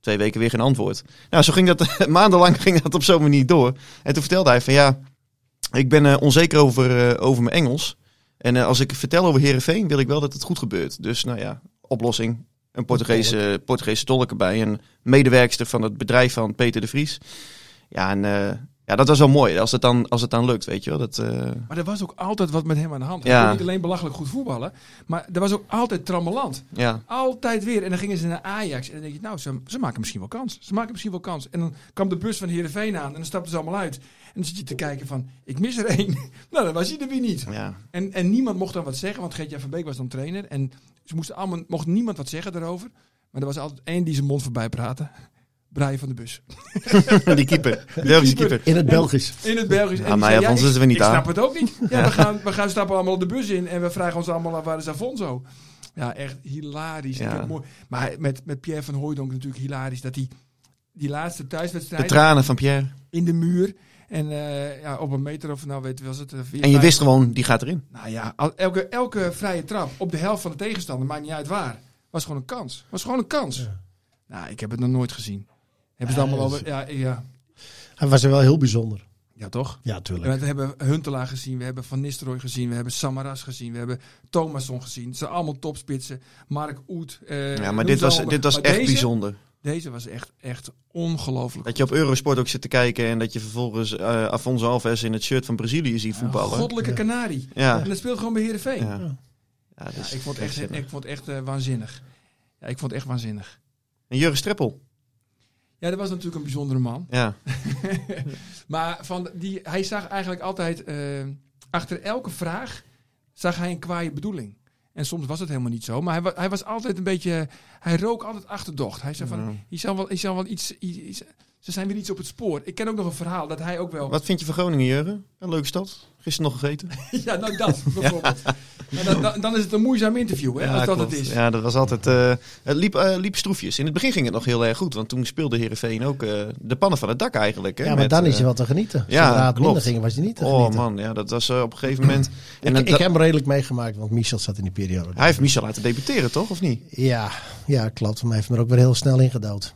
Speaker 1: twee weken weer geen antwoord. Nou, zo ging dat maandenlang ging dat op zo'n manier door. En toen vertelde hij van ja, ik ben eh, onzeker over, eh, over mijn Engels. En eh, als ik vertel over Herenveen, wil ik wel dat het goed gebeurt. Dus nou ja, oplossing. Een Portugese, Portugese tolk erbij. Een medewerkster van het bedrijf van Peter de Vries. Ja, en eh, ja, dat was wel mooi als het dan, als het dan lukt, weet je wel. Dat, eh,
Speaker 2: Maar er was ook altijd wat met hem aan de hand.
Speaker 1: Ja.
Speaker 2: Hij kon niet alleen belachelijk goed voetballen, maar er was ook altijd trammeland.
Speaker 1: ja.
Speaker 2: Altijd weer. En dan gingen ze naar Ajax. En dan denk je, nou, ze, ze maken misschien wel kans. Ze maken misschien wel kans. En dan kwam de bus van Heerenveen aan en dan stapten ze allemaal uit. En dan zit je te kijken van, ik mis er één. nou, dan was hij er weer niet.
Speaker 1: ja.
Speaker 2: En, en niemand mocht dan wat zeggen, want Geert-Jan van Beek was dan trainer. En ze moesten allemaal, mocht niemand wat zeggen daarover. Maar er was altijd één die zijn mond voorbij praatte. Brian van de Bus.
Speaker 1: die keeper. De Belgische keeper.
Speaker 3: In het Belgisch.
Speaker 2: In het Belgisch.
Speaker 1: Ja,
Speaker 2: die
Speaker 1: maar
Speaker 2: zei,
Speaker 1: ja, van ze
Speaker 2: ik-
Speaker 1: zijn we niet
Speaker 2: Ik
Speaker 1: aan.
Speaker 2: snap het ook niet. Ja, We, gaan, we gaan stappen allemaal de bus in en we vragen ons allemaal af waar is Afonso. Ja, echt hilarisch.
Speaker 1: Ja.
Speaker 2: Ik vind het mooi. Maar met, met Pierre van Hooijdonk natuurlijk hilarisch dat hij die laatste
Speaker 1: De
Speaker 2: thuiswedstrijd
Speaker 1: tranen van Pierre.
Speaker 2: in de muur en eh, ja, op een meter of nou weet was het eh, vier,
Speaker 1: En je
Speaker 2: vijf-
Speaker 1: wist gewoon, die gaat erin.
Speaker 2: Nou ja, al- elke, elke vrije trap op de helft van de tegenstander, maakt niet uit waar, was gewoon een kans. Was gewoon een kans. Nou, ik heb het nog nooit gezien. Hebben ze het
Speaker 3: Ja,
Speaker 2: allemaal
Speaker 3: dat
Speaker 2: over? Ja, ja,
Speaker 3: Hij was er wel heel bijzonder.
Speaker 2: ja, toch?
Speaker 3: Ja, tuurlijk.
Speaker 2: Ja, we hebben Huntelaar gezien, we hebben Van Nistelrooy gezien, we hebben Samaras gezien, we hebben Thomasson gezien. Het zijn allemaal topspitsen. Mark Oet. eh,
Speaker 1: Ja, maar
Speaker 2: noem
Speaker 1: dit
Speaker 2: ze
Speaker 1: was,
Speaker 2: allemaal.
Speaker 1: dit was
Speaker 2: Maar
Speaker 1: echt
Speaker 2: deze-
Speaker 1: bijzonder.
Speaker 2: Deze was echt, echt ongelooflijk.
Speaker 1: Dat je op Eurosport ook zit te kijken en dat je vervolgens eh, Afonso Alves in het shirt van Brazilië ziet
Speaker 2: Een
Speaker 1: voetballen.
Speaker 2: goddelijke
Speaker 3: Ja.
Speaker 2: kanarie.
Speaker 1: Ja.
Speaker 2: En dat speelt gewoon bij Heerenveen.
Speaker 1: Ja.
Speaker 2: Ja.
Speaker 1: Ja. dat is
Speaker 2: ik vond het echt,
Speaker 1: zinnig.
Speaker 2: ik vond het echt eh, waanzinnig. Ja, ik vond het echt waanzinnig.
Speaker 1: En Jurgen Streppel.
Speaker 2: Ja, dat was natuurlijk een bijzondere man.
Speaker 1: Ja.
Speaker 2: Maar van die, hij zag eigenlijk altijd, eh, achter elke vraag zag hij een kwaaie bedoeling. En soms was het helemaal niet zo, maar hij, wa- hij was altijd een beetje, hij rook altijd achterdocht. Hij zei van,
Speaker 1: Ja.
Speaker 2: Hier zal wel, hier zal wel iets, i- i- Ze zijn weer iets op het spoor. Ik ken ook nog een verhaal dat hij ook wel.
Speaker 1: Wat vind je van Groningen, Jurgen? Een leuke stad. Gisteren nog gegeten.
Speaker 2: Ja, nou dat bijvoorbeeld. Maar dan, dan, dan is het een moeizaam interview, hè, als dat
Speaker 1: klopt.
Speaker 2: het is.
Speaker 1: Ja, dat was altijd... eh, het liep, eh, liep stroefjes. In het begin ging het nog heel erg goed, want toen speelde Heerenveen ook eh, de pannen van het dak eigenlijk. Hè,
Speaker 3: ja, maar
Speaker 1: met,
Speaker 3: dan is
Speaker 1: eh,
Speaker 3: je wel te genieten.
Speaker 1: ja,
Speaker 3: Zodra het minder
Speaker 1: klopt.
Speaker 3: ging, was je niet te
Speaker 1: Oh
Speaker 3: genieten.
Speaker 1: man, ja, dat was eh, op een gegeven moment... En
Speaker 3: ik,
Speaker 1: dat-
Speaker 3: ik heb hem redelijk meegemaakt, want Michel zat in die periode.
Speaker 1: Hij heeft Michel laten debuteren, toch? Of niet?
Speaker 3: Ja, ja, klopt. Maar hij heeft hem er ook weer heel snel ingedood.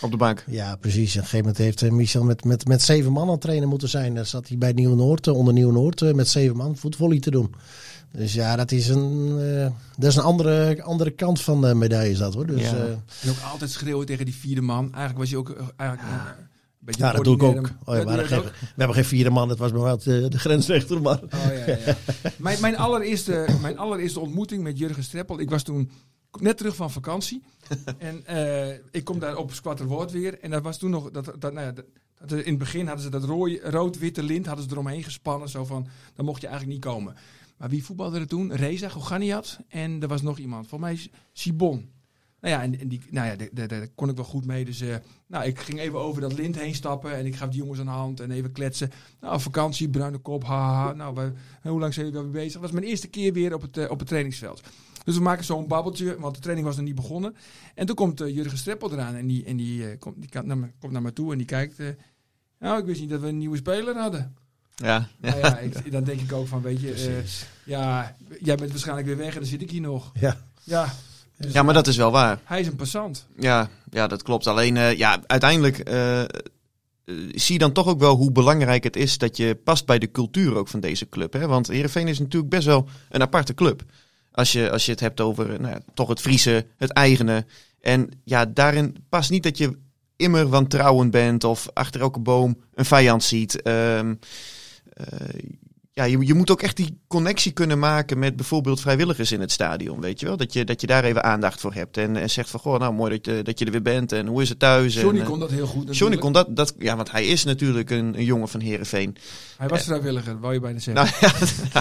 Speaker 1: Op de bank.
Speaker 3: Ja, precies. Op een gegeven moment heeft eh, Michel met, met, met zeven man aan het trainen moeten zijn. Dan zat hij bij Nieuw-Noord, eh, onder Nieuw-Noord, eh, met zeven man voetvolley te doen. Dus ja, dat is een, eh, dat is een andere, andere kant van de medaille is dat hoor. Dus,
Speaker 1: Ja.
Speaker 3: eh,
Speaker 2: En ook altijd schreeuwen tegen die vierde man. Eigenlijk was je ook eh, eigenlijk, eh, een beetje
Speaker 3: ja,
Speaker 2: een
Speaker 3: dat doe ik ook.
Speaker 2: ordinaire-
Speaker 3: Oh, ja,
Speaker 2: Dat
Speaker 3: maar
Speaker 2: doe
Speaker 3: dat
Speaker 2: je
Speaker 3: geeft- we hebben geen vierde man, dat was bij mij eh, de, de grensrechter. Maar
Speaker 2: Oh, ja, ja, ja. mijn, mijn, allereerste, mijn allereerste ontmoeting met Jurgen Streppel. Ik was toen net terug van vakantie. En eh, ik kom daar op Squatterwoord weer. En dat was toen nog. Dat, dat, nou ja, dat, dat- in het begin hadden ze dat rooi- rood-witte lint hadden ze eromheen gespannen. Zo van: dan mocht je eigenlijk niet komen. Maar wie voetbalde er toen? Reza Goganiat. En er was nog iemand. Volgens mij Sibon. Nou ja, en, en die, nou ja, daar- daar daar kon ik wel goed mee. Dus eh, nou, ik ging even over dat lint heen stappen. En ik gaf die jongens aan de hand en even kletsen. Nou, vakantie, bruine kop, haha. Nou, wij- en hoe lang zijn jullie daarmee bezig? Dat was mijn eerste keer weer op het, eh, op het trainingsveld. Dus we maken zo'n babbeltje, want de training was nog niet begonnen. En toen komt eh, Jurgen Streppel eraan en die, en die, eh, komt, die kan- naar me, komt naar me toe en die kijkt... eh, nou, ik wist niet dat we een nieuwe speler hadden.
Speaker 1: Ja.
Speaker 2: Nou ja, ik- dan denk ik ook van, weet je, eh, ja, jij bent waarschijnlijk weer weg en dan zit ik hier nog.
Speaker 3: ja.
Speaker 2: Ja,
Speaker 1: ja, maar dat is wel waar.
Speaker 2: hij is een passant.
Speaker 1: Ja, ja dat klopt. Alleen, eh, ja, uiteindelijk eh, eh, zie je dan toch ook wel hoe belangrijk het is dat je past bij de cultuur ook van deze club. Hè? Want Heerenveen is natuurlijk best wel een aparte club. Als je, als je het hebt over eh, nou ja, toch het Friese, het eigene. En ja, daarin past niet dat je immer wantrouwend bent of achter elke boom een vijand ziet. Ehm, eh, ja, je, je moet ook echt die connectie kunnen maken met bijvoorbeeld vrijwilligers in het stadion, weet je wel? Dat je, dat je daar even aandacht voor hebt en, en zegt van, goh, nou mooi dat je, dat je er weer bent en hoe is het thuis?
Speaker 2: Johnny
Speaker 1: en, eh,
Speaker 2: kon dat heel goed.
Speaker 1: Johnny
Speaker 2: natuurlijk.
Speaker 1: kon dat, dat, ja, want hij is natuurlijk een, een jongen van Heerenveen.
Speaker 2: Hij was vrijwilliger, wou je bijna zeggen.
Speaker 1: Nou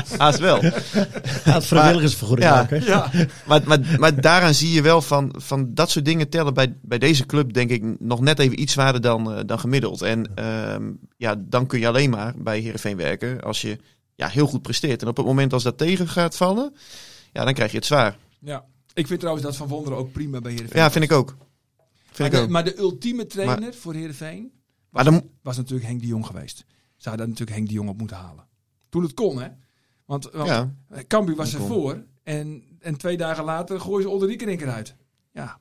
Speaker 1: ja, haast wel.
Speaker 3: Hij had vrijwilligersvergoeding
Speaker 1: Ja.
Speaker 3: ook, hè?
Speaker 2: ja.
Speaker 1: Maar, maar, maar daaraan zie je wel van, van dat soort dingen tellen bij, bij deze club, denk ik, nog net even iets zwaarder dan, eh, dan gemiddeld. En ehm, ja, dan kun je alleen maar bij Heerenveen werken als je ja, heel goed presteert. En op het moment als dat tegen gaat vallen, ja, dan krijg je het zwaar.
Speaker 2: ja. Ik vind trouwens dat Van Wonderen ook prima bij Heerenveen.
Speaker 1: Nou- Ja, vind ik ook.
Speaker 2: maar,
Speaker 1: Vind ik
Speaker 2: de,
Speaker 1: ook.
Speaker 2: maar de ultieme trainer voor Heerenveen
Speaker 1: Maar dan,
Speaker 2: was natuurlijk Henk de Jong geweest. Ze hadden natuurlijk Henk de Jong op moeten halen. Toen het kon, hè? Want, want
Speaker 1: ja,
Speaker 2: eh, Cambuur was
Speaker 1: Toen
Speaker 2: ervoor
Speaker 1: kon.
Speaker 2: voor en, en twee dagen later gooien ze Olderieker in keer uit. Ja,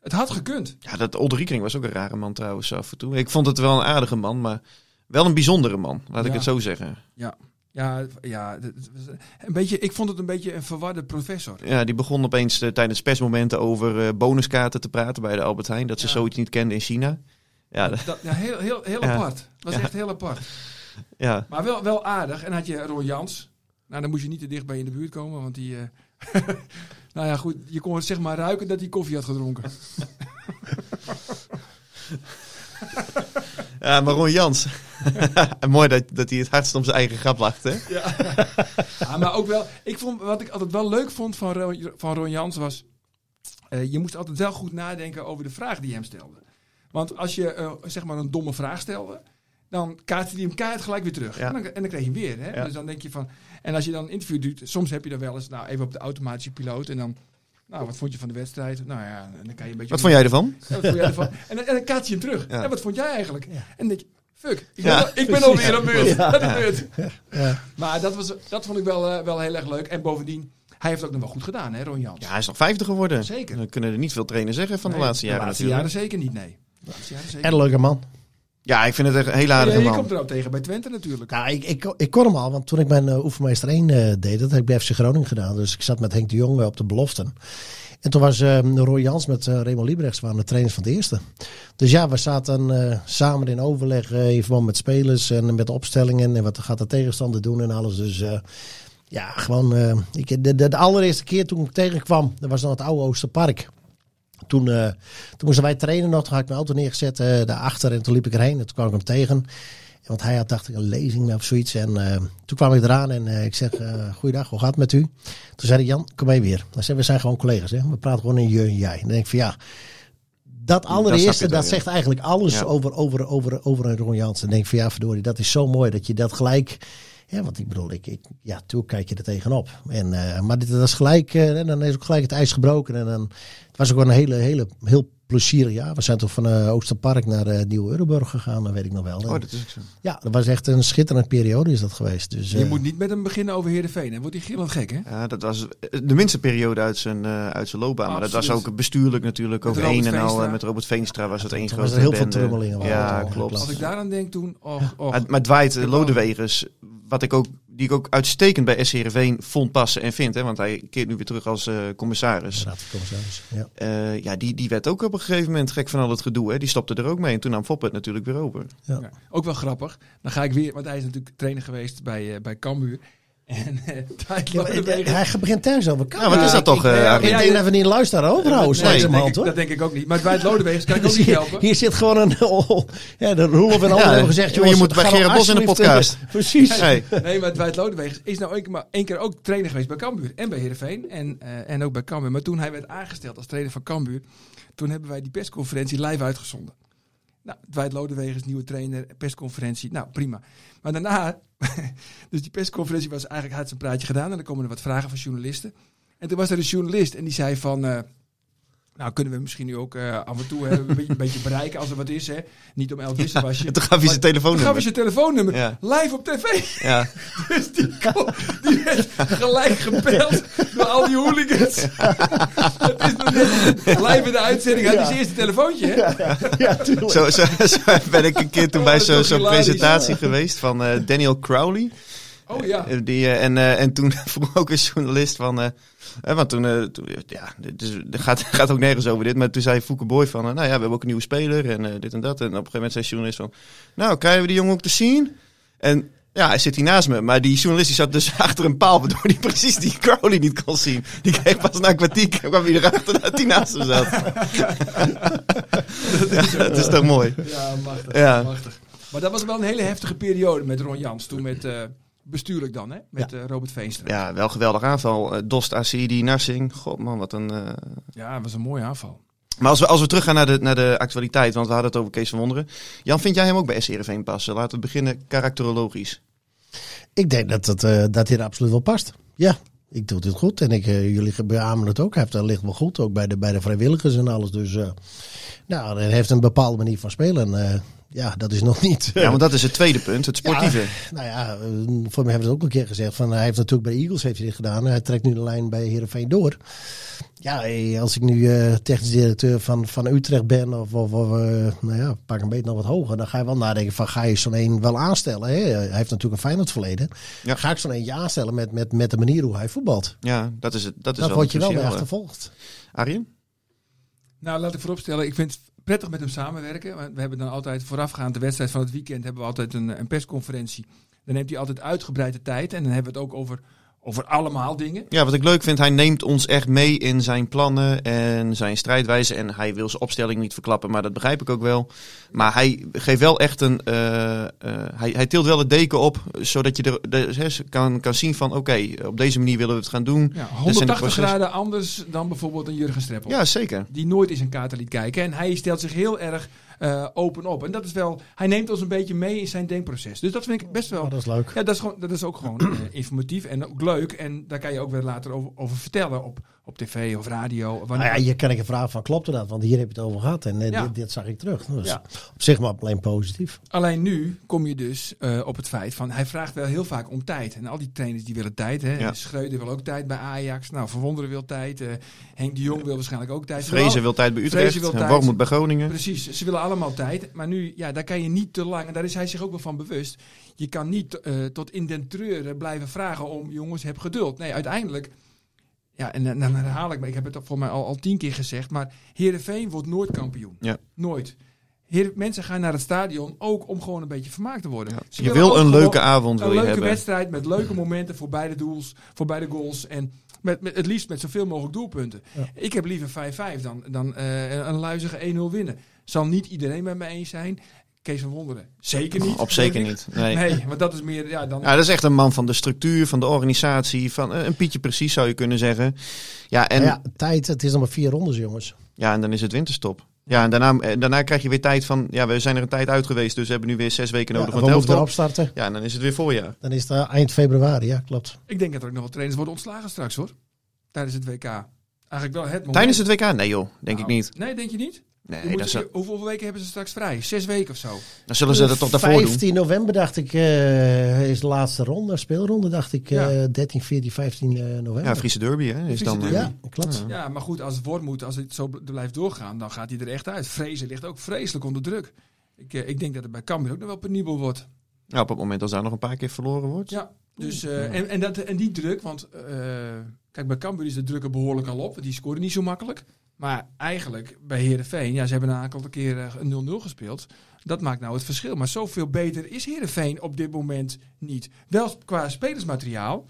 Speaker 2: het had gekund.
Speaker 1: ja, dat Olderikering was ook een rare man trouwens af en toe. Ik vond het wel een aardige man, maar wel een bijzondere man, laat ik
Speaker 2: Ja.
Speaker 1: het zo zeggen.
Speaker 2: Ja, ja het- het was een beetje, ik vond het een beetje een verwarde professor.
Speaker 1: Ja, die begon opeens eh, tijdens persmomenten over eh, bonuskaarten te praten bij de Albert Heijn. Dat ze
Speaker 2: Ja.
Speaker 1: zoiets niet kenden in China. Ja, dat-
Speaker 2: Dat, ja, heel, heel, heel
Speaker 1: Ja.
Speaker 2: apart. Dat was
Speaker 1: Ja.
Speaker 2: echt heel apart.
Speaker 1: ja.
Speaker 2: Maar wel, wel aardig. En had je Roy Jans. Nou, dan moest je niet te dicht bij in de buurt komen, want die... eh, nou ja, goed. Je kon zeg maar ruiken dat hij koffie had gedronken.
Speaker 1: ja Maron Jans. Mooi dat, dat hij het hardst om zijn eigen grap lacht, hè?
Speaker 2: Ja, maar ook wel... Ik vond, wat ik altijd wel leuk vond van Roy, van Roy Jans was... eh, je moest altijd wel goed nadenken over de vraag die je hem stelde. Want als je eh, zeg maar een domme vraag stelde... Dan kaatste hij hem keihard gelijk weer terug.
Speaker 1: Ja.
Speaker 2: En, dan, en dan kreeg je hem weer. Hè?
Speaker 1: Ja.
Speaker 2: Dus dan denk je van... En als je dan een interview doet... Soms heb je dan wel eens... Nou, even op de automatische piloot. En dan... Nou, wat vond je van de wedstrijd? Nou ja, en dan kan je een beetje...
Speaker 1: Wat vond jij ervan?
Speaker 2: Ja, wat vond jij ervan? En, dan- en dan kaats je hem terug.
Speaker 1: Ja.
Speaker 2: En wat vond jij eigenlijk?
Speaker 3: Ja.
Speaker 2: En dan denk je, fuck, ik ben,
Speaker 1: Ja,
Speaker 2: al, ik ben
Speaker 3: precies.
Speaker 2: alweer aan beurt.
Speaker 3: Ja.
Speaker 2: Dat is beurt.
Speaker 3: Ja.
Speaker 2: Maar dat, was, dat vond ik wel, eh, wel heel erg leuk. En bovendien, hij heeft het ook nog wel goed gedaan, hè, Ron Jans?
Speaker 1: Ja, hij is nog 50 geworden.
Speaker 2: Zeker.
Speaker 1: Dan kunnen er niet veel trainers zeggen van de
Speaker 2: Nee,
Speaker 1: laatste jaren
Speaker 2: laatste
Speaker 1: natuurlijk.
Speaker 2: jaren zeker niet, nee. De laatste jaren zeker
Speaker 3: En een leuke man.
Speaker 1: Ja, ik vind het echt een heel
Speaker 2: niet.
Speaker 1: aardige
Speaker 2: Ja, je komt
Speaker 1: man.
Speaker 2: er ook tegen bij Twente natuurlijk.
Speaker 3: Nou, ik, ik, ik kon hem al, want toen ik mijn eh, oefenmeester 1 eh, deed, dat heb ik bij FC Groningen gedaan. Dus ik zat met Henk de Jong eh, op de beloften. En toen was eh, Roy Jans met eh Raymond Liebrechts waren de trainers van het eerste. Dus ja, we zaten eh, samen in overleg eh, in verband met spelers en met de opstellingen en wat gaat de tegenstander doen en alles. Dus eh, ja, gewoon. eh, ik, de, de, de allereerste keer toen ik hem tegenkwam, dat was dan het oude Oosterpark. Toen, eh, toen moesten wij trainen nog, toen had ik mijn auto neergezet eh, daarachter en toen liep ik erheen en toen kwam ik hem tegen. Want hij had dacht ik een lezing of zoiets. En eh, toen kwam ik eraan en eh, ik zeg, eh goeiedag, hoe gaat het met u? Toen zei hij, Jan, kom mee weer. Dan zei, we zijn gewoon collega's, hè? we praten gewoon in je en jij. En dan denk ik van ja,
Speaker 1: snap
Speaker 3: dat
Speaker 1: je
Speaker 3: allereerste,
Speaker 1: dan,
Speaker 3: dat
Speaker 1: ja.
Speaker 3: zegt eigenlijk alles
Speaker 1: Ja.
Speaker 3: over, over, over, over een Ron Jansen. Dan denk ik van ja, verdorie, dat is zo mooi dat je dat gelijk... Ja, want ik bedoel, ik, ik, ja, toen kijk je er tegenop. En, eh, maar dit, dat is gelijk, eh, en dan is ook gelijk het ijs gebroken. En dan, het was ook wel een hele, hele, heel plezierig jaar. We zijn toch van eh, Oosterpark naar eh Nieuw-Euroburg gegaan, dat weet ik nog wel. En-
Speaker 1: Oh, dat is ook zo.
Speaker 3: ja, dat was echt een schitterende periode is dat geweest. Dus,
Speaker 2: Je
Speaker 3: eh,
Speaker 2: moet niet met hem beginnen over Heerenveen. Dan wordt hij gillend gek, hè?
Speaker 1: Ja, dat was eh, de minste periode uit zijn, eh, uit zijn loopbaan. Maar dat was
Speaker 2: Absoluut.
Speaker 1: ook bestuurlijk natuurlijk.
Speaker 2: Met
Speaker 1: Over
Speaker 2: Robert
Speaker 1: één en al.
Speaker 2: Veenstra.
Speaker 1: eh, Met Robert Veenstra was dat één
Speaker 3: toen
Speaker 1: grote
Speaker 3: was er heel veel
Speaker 1: bende.
Speaker 3: trommelingen waren
Speaker 1: Ja,
Speaker 3: het al,
Speaker 1: klopt.
Speaker 3: in
Speaker 2: Als ik daaraan denk toen, och, och.
Speaker 1: Maar, maar Dwight
Speaker 2: Ik
Speaker 1: Lodewegers, wat ik ook, die ik ook uitstekend bij SC Heerenveen vond passen en vind. Hè, want hij keert nu weer terug als eh, commissaris.
Speaker 3: Raad van Commissarissen, ja.
Speaker 1: Eh, ja, die, die werd ook op een gegeven moment gek van al het gedoe. Hè. Die stopte er ook mee. En toen nam Fop het natuurlijk weer open.
Speaker 3: Ja.
Speaker 2: Ja, ook wel grappig. Dan ga ik weer, want hij is natuurlijk trainer geweest bij, eh, bij Cambuur. En eh, daar
Speaker 3: Ja, maar, eh, Hij begint thuis over
Speaker 1: Ja, wat is dat toch? eh,
Speaker 2: ik- ja,
Speaker 1: Arjen?
Speaker 3: Ik
Speaker 2: ja,
Speaker 3: denk dat we niet luisteren hoor, trouwens,
Speaker 1: nee,
Speaker 2: dat, denk ik,
Speaker 3: langzamerhand,
Speaker 2: dat
Speaker 3: hoor.
Speaker 2: denk ik ook niet. Maar bij het Lodewegers kan ik ook
Speaker 3: Dus
Speaker 2: niet
Speaker 3: hier,
Speaker 2: helpen.
Speaker 3: hier zit gewoon een. Oh, ja, de Roelof en anderen
Speaker 1: Ja,
Speaker 3: hebben gezegd:
Speaker 1: je
Speaker 3: jongens,
Speaker 1: moet bij
Speaker 3: ga nou
Speaker 1: Gerard Bos in de
Speaker 3: alsjeblieft, eh,
Speaker 1: podcast.
Speaker 3: Precies.
Speaker 1: Hey.
Speaker 2: Nee, maar Dwight Lodewegers is nou één keer, maar één keer ook trainer geweest bij Cambuur. En bij Heerenveen en, eh, en ook bij Cambuur. Maar toen hij werd aangesteld als trainer van Cambuur, toen hebben wij die persconferentie live uitgezonden. Nou, Dwight Lodewegers, nieuwe trainer, persconferentie. Nou, prima. Maar daarna, dus die persconferentie was eigenlijk, had zijn praatje gedaan. En dan komen er wat vragen van journalisten. En toen was er een journalist en die zei van... eh, nou, kunnen we misschien nu ook eh, af en toe hè, een, beetje, een beetje bereiken als er wat is, hè? Niet om elk wisselwasje.
Speaker 1: En toen gaf hij zijn
Speaker 2: Dan gaf
Speaker 1: telefoonnummer.
Speaker 2: je zijn telefoonnummer
Speaker 1: Ja.
Speaker 2: live op tv.
Speaker 1: Ja.
Speaker 2: Dus die, kon- die werd gelijk gebeld door al die hooligans. Het is nog net live in de uitzending. Hij had zijn eerste telefoontje. hè?
Speaker 3: Ja, tuurlijk.
Speaker 1: Zo, zo, zo ben ik een keer toen
Speaker 2: Oh,
Speaker 1: bij
Speaker 2: dat is
Speaker 1: zo-
Speaker 2: ook
Speaker 1: zo'n
Speaker 2: hilarisch.
Speaker 1: presentatie geweest van eh, Daniel Crowley.
Speaker 2: Oh ja.
Speaker 1: Eh, Die, eh, en, eh, en toen vroeg ook een journalist van... eh, eh, want toen, eh, toen- ja, dit is- dit gaat, gaat ook nergens over dit. Maar toen zei Fouke Boy van... eh, nou ja, we hebben ook een nieuwe speler en eh, dit en dat. En op een gegeven moment zei de journalist van... Nou, krijgen we die jongen ook te zien? En ja, hij zit hier naast me. Maar die journalist die zat dus achter een paal... waardoor hij precies die Crowley niet kon zien. Die kreeg pas na een kwartier... kwam hij erachter dat hij naast hem zat. Ja, dat is toch mooi.
Speaker 2: Ja, machtig.
Speaker 1: Ja.
Speaker 2: machtig. Maar dat was wel een hele heftige periode met Ron Jans. Toen met eh, bestuurlijk dan, hè? Met eh, Robert Veenstra. Ja.
Speaker 1: Ja, wel geweldig aanval. Eh, Dost, Acidi, Narsing. God man, wat een... eh,
Speaker 2: dat was een mooie aanval.
Speaker 1: Maar als we, als we teruggaan naar de, naar de actualiteit, want we hadden het over Kees van Wonderen. Jan, vind jij hem ook bij SCRV passen? Laten we beginnen karakterologisch.
Speaker 3: Ik denk dat, dat, eh, dat hij er absoluut wel past. Ja, ik doe dit goed. En ik, eh, jullie beamen het ook. Hij heeft, dat ligt wel goed, ook bij de, bij de vrijwilligers en alles. Dus eh, nou, hij heeft een bepaalde manier van spelen. En, eh, ja, dat is nog niet.
Speaker 1: Ja, want dat is het tweede punt, het sportieve.
Speaker 3: Ja, nou ja, eh, voor mij hebben we het ook een keer gezegd. Van, hij heeft natuurlijk bij Eagles heeft hij dit gedaan. Hij trekt nu de lijn bij Heerenveen door. Ja, eh, als ik nu eh, technisch directeur van, van Utrecht ben, of, of, of, eh, nou ja, pak een beetje nog wat hoger, dan ga je wel nadenken van ga je zo'n een wel aanstellen. Hè? Hij heeft natuurlijk een Feyenoord verleden.
Speaker 1: Ja.
Speaker 3: Ga ik zo'n eentje aanstellen met, met, met de manier hoe hij voetbalt?
Speaker 1: Ja, dat is het. Dat is
Speaker 3: Dat
Speaker 1: wel
Speaker 3: word je wel mee
Speaker 1: cruciaal, hè.
Speaker 3: achtervolgd.
Speaker 1: Arjen?
Speaker 2: Nou, laat ik vooropstellen. Ik vind prettig met hem samenwerken. Want We hebben dan altijd voorafgaand de wedstrijd van het weekend hebben we altijd een, een persconferentie. Dan neemt hij altijd uitgebreid de tijd en dan hebben we het ook over, over allemaal dingen.
Speaker 1: Ja, wat ik leuk vind, hij neemt ons echt mee in zijn plannen en zijn strijdwijze. En hij wil zijn opstelling niet verklappen, maar dat begrijp ik ook wel. Maar hij geeft wel echt een. eh, eh, hij, hij tilt wel het deken op, zodat je er, de- hè, kan, kan zien van: oké, op deze manier willen we het gaan doen.
Speaker 2: Ja,
Speaker 1: Dit zijn de
Speaker 2: 180
Speaker 1: processen.
Speaker 2: graden anders dan bijvoorbeeld een Jurgen Streppel.
Speaker 1: Ja, zeker.
Speaker 2: Die nooit in zijn kaarten liet kijken. En hij stelt zich heel erg eh, open op. En dat is wel, hij neemt ons een beetje mee in zijn denkproces. Dus dat vind ik best wel.
Speaker 3: Oh, dat is leuk.
Speaker 2: Ja, dat is, gewoon, dat is ook gewoon eh, informatief en ook leuk. En daar kan je ook weer later over, over vertellen op, op tv of radio.
Speaker 3: Nou
Speaker 2: Wanneer-
Speaker 3: ja, hier kan ik een vraag van, klopt er dat? Want hier heb je het over gehad en eh,
Speaker 2: Ja.
Speaker 3: dit, dit zag ik terug. Dus
Speaker 2: Ja.
Speaker 3: op zich maar alleen positief.
Speaker 2: Alleen nu kom je dus eh, op het feit van hij vraagt wel heel vaak om tijd. En al die trainers die willen tijd. Hè?
Speaker 1: Ja.
Speaker 2: Schreuder wil ook tijd bij Ajax. Nou, Verwonderen wil tijd. eh, Henk de Jong wil waarschijnlijk ook tijd. Ze willen
Speaker 1: Vrezen wil tijd bij
Speaker 2: Vrezen
Speaker 1: Utrecht,
Speaker 2: wil
Speaker 1: en
Speaker 2: tijd.
Speaker 1: Wormoed bij Groningen.
Speaker 2: Precies, ze willen allemaal tijd. Maar nu, ja, daar kan je niet te lang, en daar is hij zich ook wel van bewust. Je kan niet eh, tot in den treuren blijven vragen om, jongens, heb geduld. Nee, uiteindelijk, ja, en dan, dan herhaal ik me, ik heb het voor mij al, al tien keer gezegd, maar Heerenveen wordt nooit kampioen.
Speaker 1: Ja.
Speaker 2: Nooit. Heer, mensen gaan naar het stadion ook om gewoon een beetje vermaakt te worden. Ze
Speaker 1: Je
Speaker 2: willen
Speaker 1: wil
Speaker 2: ook
Speaker 1: een
Speaker 2: gewoon
Speaker 1: leuke avond wil
Speaker 2: een
Speaker 1: je
Speaker 2: leuke
Speaker 1: hebben.
Speaker 2: wedstrijd met leuke momenten voor beide doels, voor beide goals. En met, met, het liefst met zoveel mogelijk doelpunten. Ik heb liever 5-5 dan, dan eh, een luizige 1-0 winnen. Zal niet iedereen met me eens zijn. Kees van Wonderen. Zeker niet.
Speaker 1: Op zeker
Speaker 2: denk ik.
Speaker 1: niet. Nee.
Speaker 2: Nee, want dat is meer. Ja, dan,
Speaker 1: Ja, dat is echt een man van de structuur, van de organisatie, van eh, een Pietje precies zou je kunnen zeggen. Ja, en,
Speaker 3: En ja, tijd, het is nog maar vier rondes jongens.
Speaker 1: ja, en dan is het winterstop. Ja, en daarna, eh, daarna krijg je weer tijd van, ja, we zijn er een tijd uit geweest, dus we hebben nu weer zes weken
Speaker 3: Ja,
Speaker 1: nodig van
Speaker 3: we
Speaker 1: het
Speaker 3: moeten erop
Speaker 1: helft.
Speaker 3: starten.
Speaker 1: Ja, en dan is het weer voorjaar.
Speaker 3: Dan is het eh, eind februari, ja klopt.
Speaker 2: Ik denk dat er ook nog wel trainers worden ontslagen straks hoor. Tijdens het WK. Eigenlijk wel het moment.
Speaker 1: Tijdens het WK? Nee joh, denk
Speaker 2: Nou,
Speaker 1: ik niet.
Speaker 2: Nee, denk je niet? Je
Speaker 1: Nee,
Speaker 2: moet-
Speaker 1: dan, zal-
Speaker 2: hoeveel weken hebben ze straks vrij? Zes weken of zo.
Speaker 1: dan zullen ze dat toch daarvoor doen.
Speaker 3: 15 november dacht ik, eh, is de laatste ronde, speelronde dacht ik, eh,
Speaker 2: Ja. 13,
Speaker 3: 13, 14, 15 eh, november.
Speaker 1: Ja, Friese derby hè. Is
Speaker 2: Friese
Speaker 1: dan, eh,
Speaker 2: derby.
Speaker 3: Ja, klopt.
Speaker 1: Ja.
Speaker 2: Ja, maar goed, als het woord moet, als het zo bl- blijft doorgaan, dan gaat hij er echt uit. Vrezen ligt ook vreselijk onder druk. Ik, eh, ik denk dat het bij Cambuur ook nog wel penibel wordt.
Speaker 1: ja, op het moment als daar nog een paar keer verloren wordt.
Speaker 2: Ja, dus, eh, en, en, dat, en die druk, want eh, kijk, bij Cambuur is de druk er behoorlijk al op. want Die scoren niet zo makkelijk. Maar eigenlijk bij Herenveen, ja, ze hebben een aantal keer eh, een 0-0 gespeeld. Dat maakt nou het verschil. Maar zoveel beter is Herenveen op dit moment niet. Wel qua spelersmateriaal,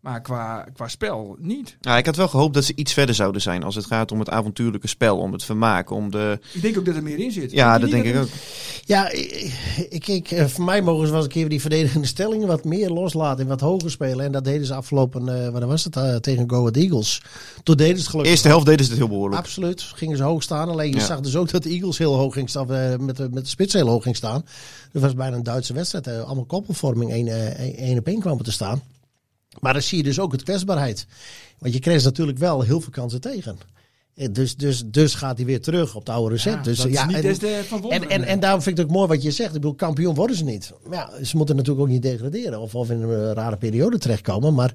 Speaker 2: maar qua, qua spel niet.
Speaker 1: Ja, ik had wel gehoopt dat ze iets verder zouden zijn als het gaat om het avontuurlijke spel, om het vermaak, om de...
Speaker 2: Ik denk ook dat er meer in zit.
Speaker 1: Ja, dat
Speaker 2: Vind je
Speaker 1: denk
Speaker 2: niet
Speaker 1: ik ook.
Speaker 3: Ja, ik, ik, ik, eh, voor mij mogen ze wel eens een keer die verdedigende stellingen wat meer loslaten en wat hoger spelen. En dat deden ze afgelopen, eh wat was het, eh, tegen Go Ahead Eagles. Toen deden ze het gelukkig.
Speaker 1: Eerste helft deden ze het heel behoorlijk.
Speaker 3: Absoluut, gingen ze hoog staan. Alleen je
Speaker 1: Ja.
Speaker 3: zag dus ook dat de Eagles heel hoog ging staan, eh, met, de- met de spits heel hoog ging staan. Dat was bijna een Duitse wedstrijd. eh, allemaal koppelvorming, één, eh, één- één op één kwamen te staan. Maar dan zie je dus ook het kwetsbaarheid. Want je kreeg ze natuurlijk wel heel veel kansen tegen. Eh, Dus, dus, dus gaat hij weer terug op de oude recept.
Speaker 2: Ja,
Speaker 3: dus,
Speaker 2: dat
Speaker 3: eh,
Speaker 2: is
Speaker 3: ja,
Speaker 2: niet
Speaker 3: en-
Speaker 2: des te van wonderen.
Speaker 3: en, en, en daarom vind ik het ook mooi wat je zegt. Ik bedoel, kampioen worden ze niet. Maar Ja, ze moeten natuurlijk ook niet degraderen of, of in een eh, rare periode terechtkomen. Maar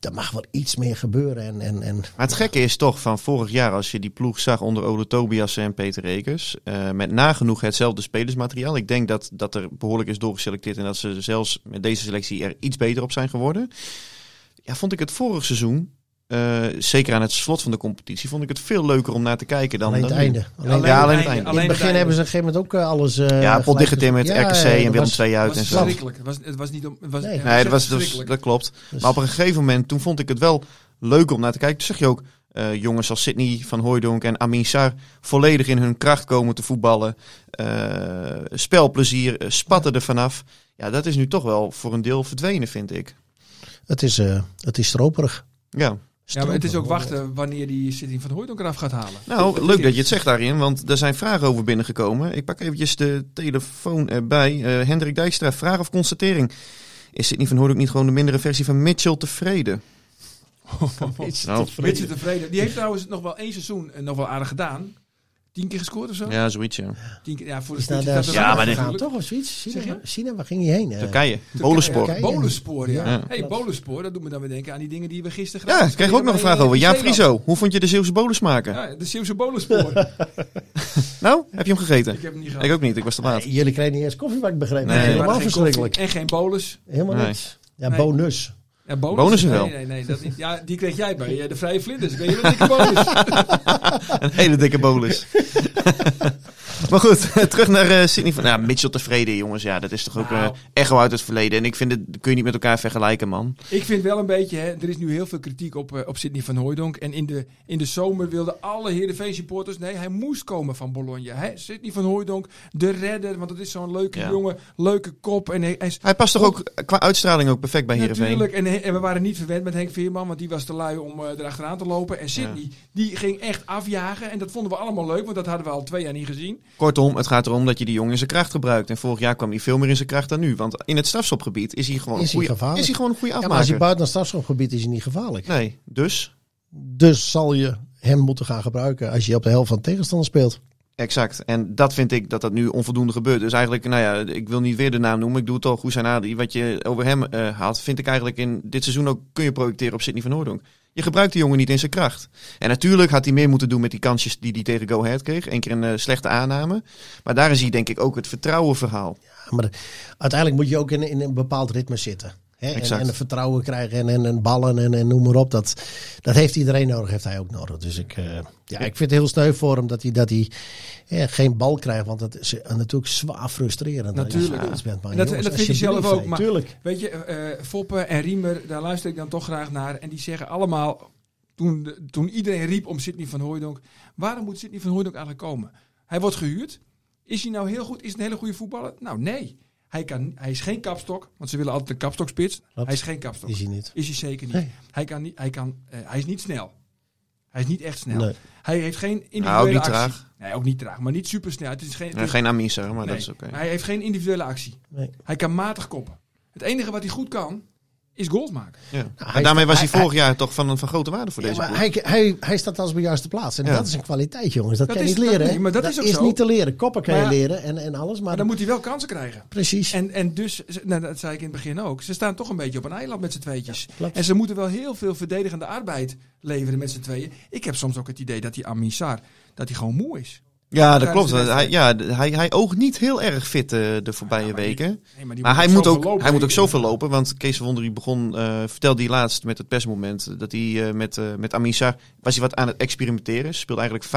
Speaker 3: er mag wel iets meer gebeuren. En, en, en
Speaker 1: Maar het gekke is toch van vorig jaar, als je die ploeg zag onder Ole Tobias en Peter Rekers, eh, met nagenoeg hetzelfde spelersmateriaal. Ik denk dat, dat er behoorlijk is doorgeselecteerd en dat ze zelfs met deze selectie er iets beter op zijn geworden. Ja, vond ik het vorig seizoen, eh, zeker aan het slot van de competitie, vond ik het veel leuker om naar te kijken dan
Speaker 3: alleen het
Speaker 1: dan nu.
Speaker 3: einde. Alleen,
Speaker 1: Ja, alleen het einde.
Speaker 3: in het begin hebben ze op een gegeven moment ook eh, alles. eh,
Speaker 1: Ja, pot
Speaker 3: gelijk-
Speaker 1: dichtgetimmerd,
Speaker 3: Ja,
Speaker 1: RKC
Speaker 3: ja,
Speaker 1: en
Speaker 3: dat
Speaker 1: Willem
Speaker 3: was-
Speaker 1: 2 uit
Speaker 2: Het
Speaker 1: en
Speaker 2: was
Speaker 1: zo.
Speaker 2: verschrikkelijk. Het was, het was niet om. Het was
Speaker 3: Nee.
Speaker 2: echt
Speaker 1: Nee, dat, was, dat, was-
Speaker 2: verschrikkelijk.
Speaker 1: dat klopt.
Speaker 3: Dus-
Speaker 1: Maar op een gegeven moment, toen vond ik het wel leuk om naar te kijken. Toen zag je ook eh, jongens als Sidney van Hooijdonk en Amin Sar volledig in hun kracht komen te voetballen. Eh, spelplezier, eh, spatten er vanaf. Ja, dat is nu toch wel voor een deel verdwenen, vind ik.
Speaker 3: Het is, eh, het is stroperig.
Speaker 1: Ja,
Speaker 2: Ja, maar het is ook
Speaker 3: Stroperig.
Speaker 2: wachten wanneer die Sitting van Hooydonk eraf gaat halen.
Speaker 1: nou, leuk dat je het zegt daarin, want er zijn vragen over binnengekomen. Ik pak eventjes de telefoon erbij. Eh, Hendrik Dijkstra, vraag of constatering. Is Sidney van Hooijdonk niet gewoon de mindere versie van Mitchell tevreden? Nou,
Speaker 2: Mitchell tevreden. Die heeft trouwens nog wel één seizoen eh, nog wel aardig gedaan. Tien keer gescoord of zo?
Speaker 1: ja, zoiets ja.
Speaker 2: Tien keer, ja voor de
Speaker 3: Is naar
Speaker 2: spits
Speaker 3: de
Speaker 2: is dat
Speaker 1: Ja,
Speaker 2: wel
Speaker 1: maar dit-
Speaker 3: gegaan,
Speaker 2: natuurlijk.
Speaker 3: toch of zoiets?
Speaker 2: Zeg je?
Speaker 3: China, China, waar ging je heen? eh?
Speaker 1: Turkije, bolenspoor.
Speaker 3: Turkije.
Speaker 2: Bolenspoor, ja.
Speaker 1: Ja.
Speaker 2: hey, Bolenspoor, dat doet me dan weer denken aan die dingen die we gisteren
Speaker 1: Ja, ik kreeg ook nog een vraag over. Jaap
Speaker 2: Ja,
Speaker 1: Frieso, hoe vond je de Zeeuwse bolus maken?
Speaker 2: Ja, de Zeeuwse Bolenspoor.
Speaker 1: Nou, heb je hem gegeten?
Speaker 2: ik heb hem niet gehad.
Speaker 1: Ik ook niet, ik was te laat.
Speaker 3: Nee, Jullie kregen niet eens koffie, wat ik begreep.
Speaker 1: Nee,
Speaker 2: maar
Speaker 3: helemaal
Speaker 2: geen
Speaker 3: verschrikkelijk.
Speaker 2: koffie En geen bolus.
Speaker 3: Helemaal
Speaker 1: Nee.
Speaker 3: niks. Ja,
Speaker 2: Nee.
Speaker 3: bonus.
Speaker 2: Ja, bonus.
Speaker 1: Bonussen
Speaker 2: nee,
Speaker 1: wel.
Speaker 2: Nee, nee, dat niet. Ja, die kreeg jij bij eh, de Vrije Vlinders. Ik weet je wel dikke bonus.
Speaker 1: Een hele dikke bolus. Maar goed, terug naar eh, Sydney. Van, nou, Mitchell tevreden, jongens. Ja, dat is toch ook
Speaker 2: Nou.
Speaker 1: eh, echo uit het verleden. En ik vind het kun je niet met elkaar vergelijken, man.
Speaker 2: Ik vind wel een beetje, hè, er is nu heel veel kritiek op, eh, op Sidney van Hooijdonk. En in de, in de zomer wilden alle Heerenveen supporters, nee, hij moest komen van Bologna. Hè? Sidney van Hooijdonk, de redder, want dat is zo'n leuke
Speaker 1: Ja.
Speaker 2: jongen, leuke kop. En hij, hij is
Speaker 1: Hij past
Speaker 3: Oh.
Speaker 1: toch ook eh, qua uitstraling ook perfect bij Heerenveen.
Speaker 2: natuurlijk, en, en we waren niet verwend met Henk Veerman, want die was te lui om eh, erachteraan te lopen. En Sidney, die ging echt afjagen en dat vonden we allemaal leuk, want dat hadden we al twee jaar niet gezien.
Speaker 1: Kortom, het gaat erom dat je die jongen in zijn kracht gebruikt. En vorig jaar kwam hij veel meer in zijn kracht dan nu. Want in het strafschopgebied is hij gewoon,
Speaker 3: Is
Speaker 1: een,
Speaker 3: hij
Speaker 1: goede,
Speaker 3: gevaarlijk?
Speaker 1: is hij gewoon een goede
Speaker 3: Ja, maar als
Speaker 1: afmaker.
Speaker 3: hij buiten het strafschopgebied is, is hij niet gevaarlijk.
Speaker 1: nee, dus...
Speaker 3: Dus zal je hem moeten gaan gebruiken als je op de helft van de tegenstander speelt.
Speaker 1: Exact. En dat vind ik dat dat nu onvoldoende gebeurt. Dus eigenlijk, nou ja, ik wil niet weer de naam noemen. Ik doe het al, Hussein Adi. Wat je over hem eh, haalt, vind ik eigenlijk in dit seizoen ook kun je projecteren op Sidney van Hoordonk. Je gebruikt die jongen niet in zijn kracht. En natuurlijk had hij meer moeten doen met die kansjes die hij tegen Go Ahead kreeg. Eén keer een eh, slechte aanname. Maar daar is hij denk ik ook het vertrouwen verhaal.
Speaker 3: Ja, maar de- uiteindelijk moet je ook in, in een bepaald ritme zitten. Hè? En,
Speaker 1: Exact.
Speaker 3: en een vertrouwen krijgen en, en, en ballen en, en noem maar op. Dat, dat heeft iedereen nodig, heeft hij ook nodig. Dus ik, eh, ja, ik vind het heel sneu voor hem dat hij, dat hij eh, geen bal krijgt. Want dat is eh, natuurlijk zwaar frustrerend.
Speaker 2: Natuurlijk.
Speaker 3: Als je bent, maar
Speaker 2: En dat-
Speaker 3: jongens,
Speaker 2: en dat vind je zelf
Speaker 3: alsjeblieft,
Speaker 2: ook,
Speaker 3: hè.
Speaker 2: maar-
Speaker 3: Tuurlijk.
Speaker 2: Weet je, eh Foppen en Riemer, daar luister ik dan toch graag naar. En die zeggen allemaal, toen, de- toen iedereen riep om Sidney van Hooijdonk, waarom moet Sidney van Hooijdonk eigenlijk komen? Hij wordt gehuurd. Is hij nou heel goed? Is het een hele goede voetballer? Nou, nee. Hij, kan, hij is geen kapstok, want ze willen altijd een kapstokspits.
Speaker 3: Klopt.
Speaker 2: Hij is geen kapstok.
Speaker 3: Is hij niet.
Speaker 2: Is hij zeker niet.
Speaker 3: Nee.
Speaker 2: Hij, kan niet hij, kan, eh, hij is niet snel. Hij is niet echt snel.
Speaker 3: Nee.
Speaker 2: Hij heeft geen individuele
Speaker 1: niet
Speaker 2: actie.
Speaker 1: traag.
Speaker 2: Nee, ook niet traag, maar niet supersnel. Het is geen, het
Speaker 1: Eh,
Speaker 2: is-
Speaker 1: geen Amisa, maar dat
Speaker 2: nee.
Speaker 1: is oké.
Speaker 2: Hij heeft geen individuele actie.
Speaker 3: Nee.
Speaker 2: Hij kan matig koppen. Het enige wat hij goed kan, is goals maken.
Speaker 1: Ja.
Speaker 3: hij-
Speaker 1: en daarmee was hij,
Speaker 3: hij-
Speaker 1: vorig jaar toch van, van grote waarde voor
Speaker 3: Ja,
Speaker 1: deze
Speaker 3: maar
Speaker 1: ploeg.
Speaker 3: hij, hij, hij staat als op de juiste plaats. En
Speaker 1: Ja.
Speaker 3: dat is een kwaliteit, jongens. Dat,
Speaker 2: Dat
Speaker 3: kan je
Speaker 2: is-
Speaker 3: niet leren.
Speaker 2: dat-
Speaker 3: hè?
Speaker 2: nee, maar dat is ook zo.
Speaker 3: niet te leren. Koppen kan je
Speaker 2: Maar-
Speaker 3: leren en, en alles. Maar,
Speaker 2: Maar dan moet hij wel kansen krijgen.
Speaker 3: precies.
Speaker 2: En, en dus, ze- nou, dat zei ik in het begin ook, ze staan toch een beetje op een eiland met z'n tweetjes.
Speaker 3: klopt.
Speaker 2: en ze moeten wel heel veel verdedigende arbeid leveren met z'n tweeën. Ik heb soms ook het idee dat die Amisar, dat hij gewoon moe is.
Speaker 1: Ja, dat
Speaker 2: tijdens
Speaker 1: klopt.
Speaker 2: de
Speaker 1: Hij,
Speaker 2: wedstrijd.
Speaker 1: ja, hij, hij oogt niet heel erg fit eh, de voorbije
Speaker 2: Ja, maar die-
Speaker 1: weken.
Speaker 2: Nee, maar die
Speaker 1: Maar hij moet,
Speaker 2: zoveel
Speaker 1: ook,
Speaker 2: lopen.
Speaker 1: hij moet ook zoveel lopen, want Kees van Wonderen begon, eh, vertelde hij laatst met het persmoment, eh, dat hij eh, met, eh met Amisa was hij wat aan het experimenteren. Ze speelde eigenlijk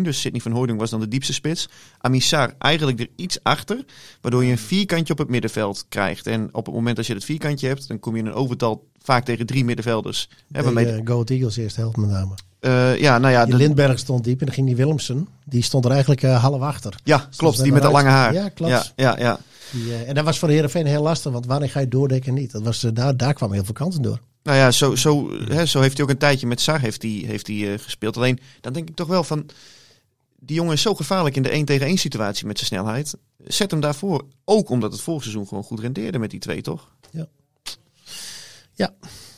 Speaker 1: 5-4-1, dus Sidney van Hooydonk was dan de diepste spits. Amissar eigenlijk er iets achter, waardoor je een vierkantje op het middenveld krijgt. En op het moment dat je dat vierkantje hebt, dan kom je in een overtal vaak tegen drie middenvelders. Hè,
Speaker 3: Tegen,
Speaker 1: waarmee,
Speaker 3: eh, Go Ahead Eagles eerst helpt met name.
Speaker 1: eh, ja, nou ja,
Speaker 3: Die
Speaker 1: de-
Speaker 3: Ah, Lindberg stond diep en dan ging die Willemsen. Die stond er eigenlijk eh, half achter.
Speaker 1: ja klopt,
Speaker 3: ze
Speaker 1: die met dat
Speaker 3: eruit.
Speaker 1: lange haar.
Speaker 3: Ja, klopt.
Speaker 1: Ja, ja, ja.
Speaker 3: Die, eh, en dat was voor Heerenveen heel lastig. Want wanneer ga je doordekken en niet? Dat was, eh, daar, daar kwamen heel veel kansen door.
Speaker 1: Nou ja, zo, zo, hè, zo heeft hij ook een tijdje met Sar heeft hij, heeft hij, eh, gespeeld. Alleen, dan denk ik toch wel van... Die jongen is zo gevaarlijk in de 1 tegen 1 situatie met zijn snelheid. Zet hem daarvoor. Ook omdat het vorig seizoen gewoon goed rendeerde met die twee, toch?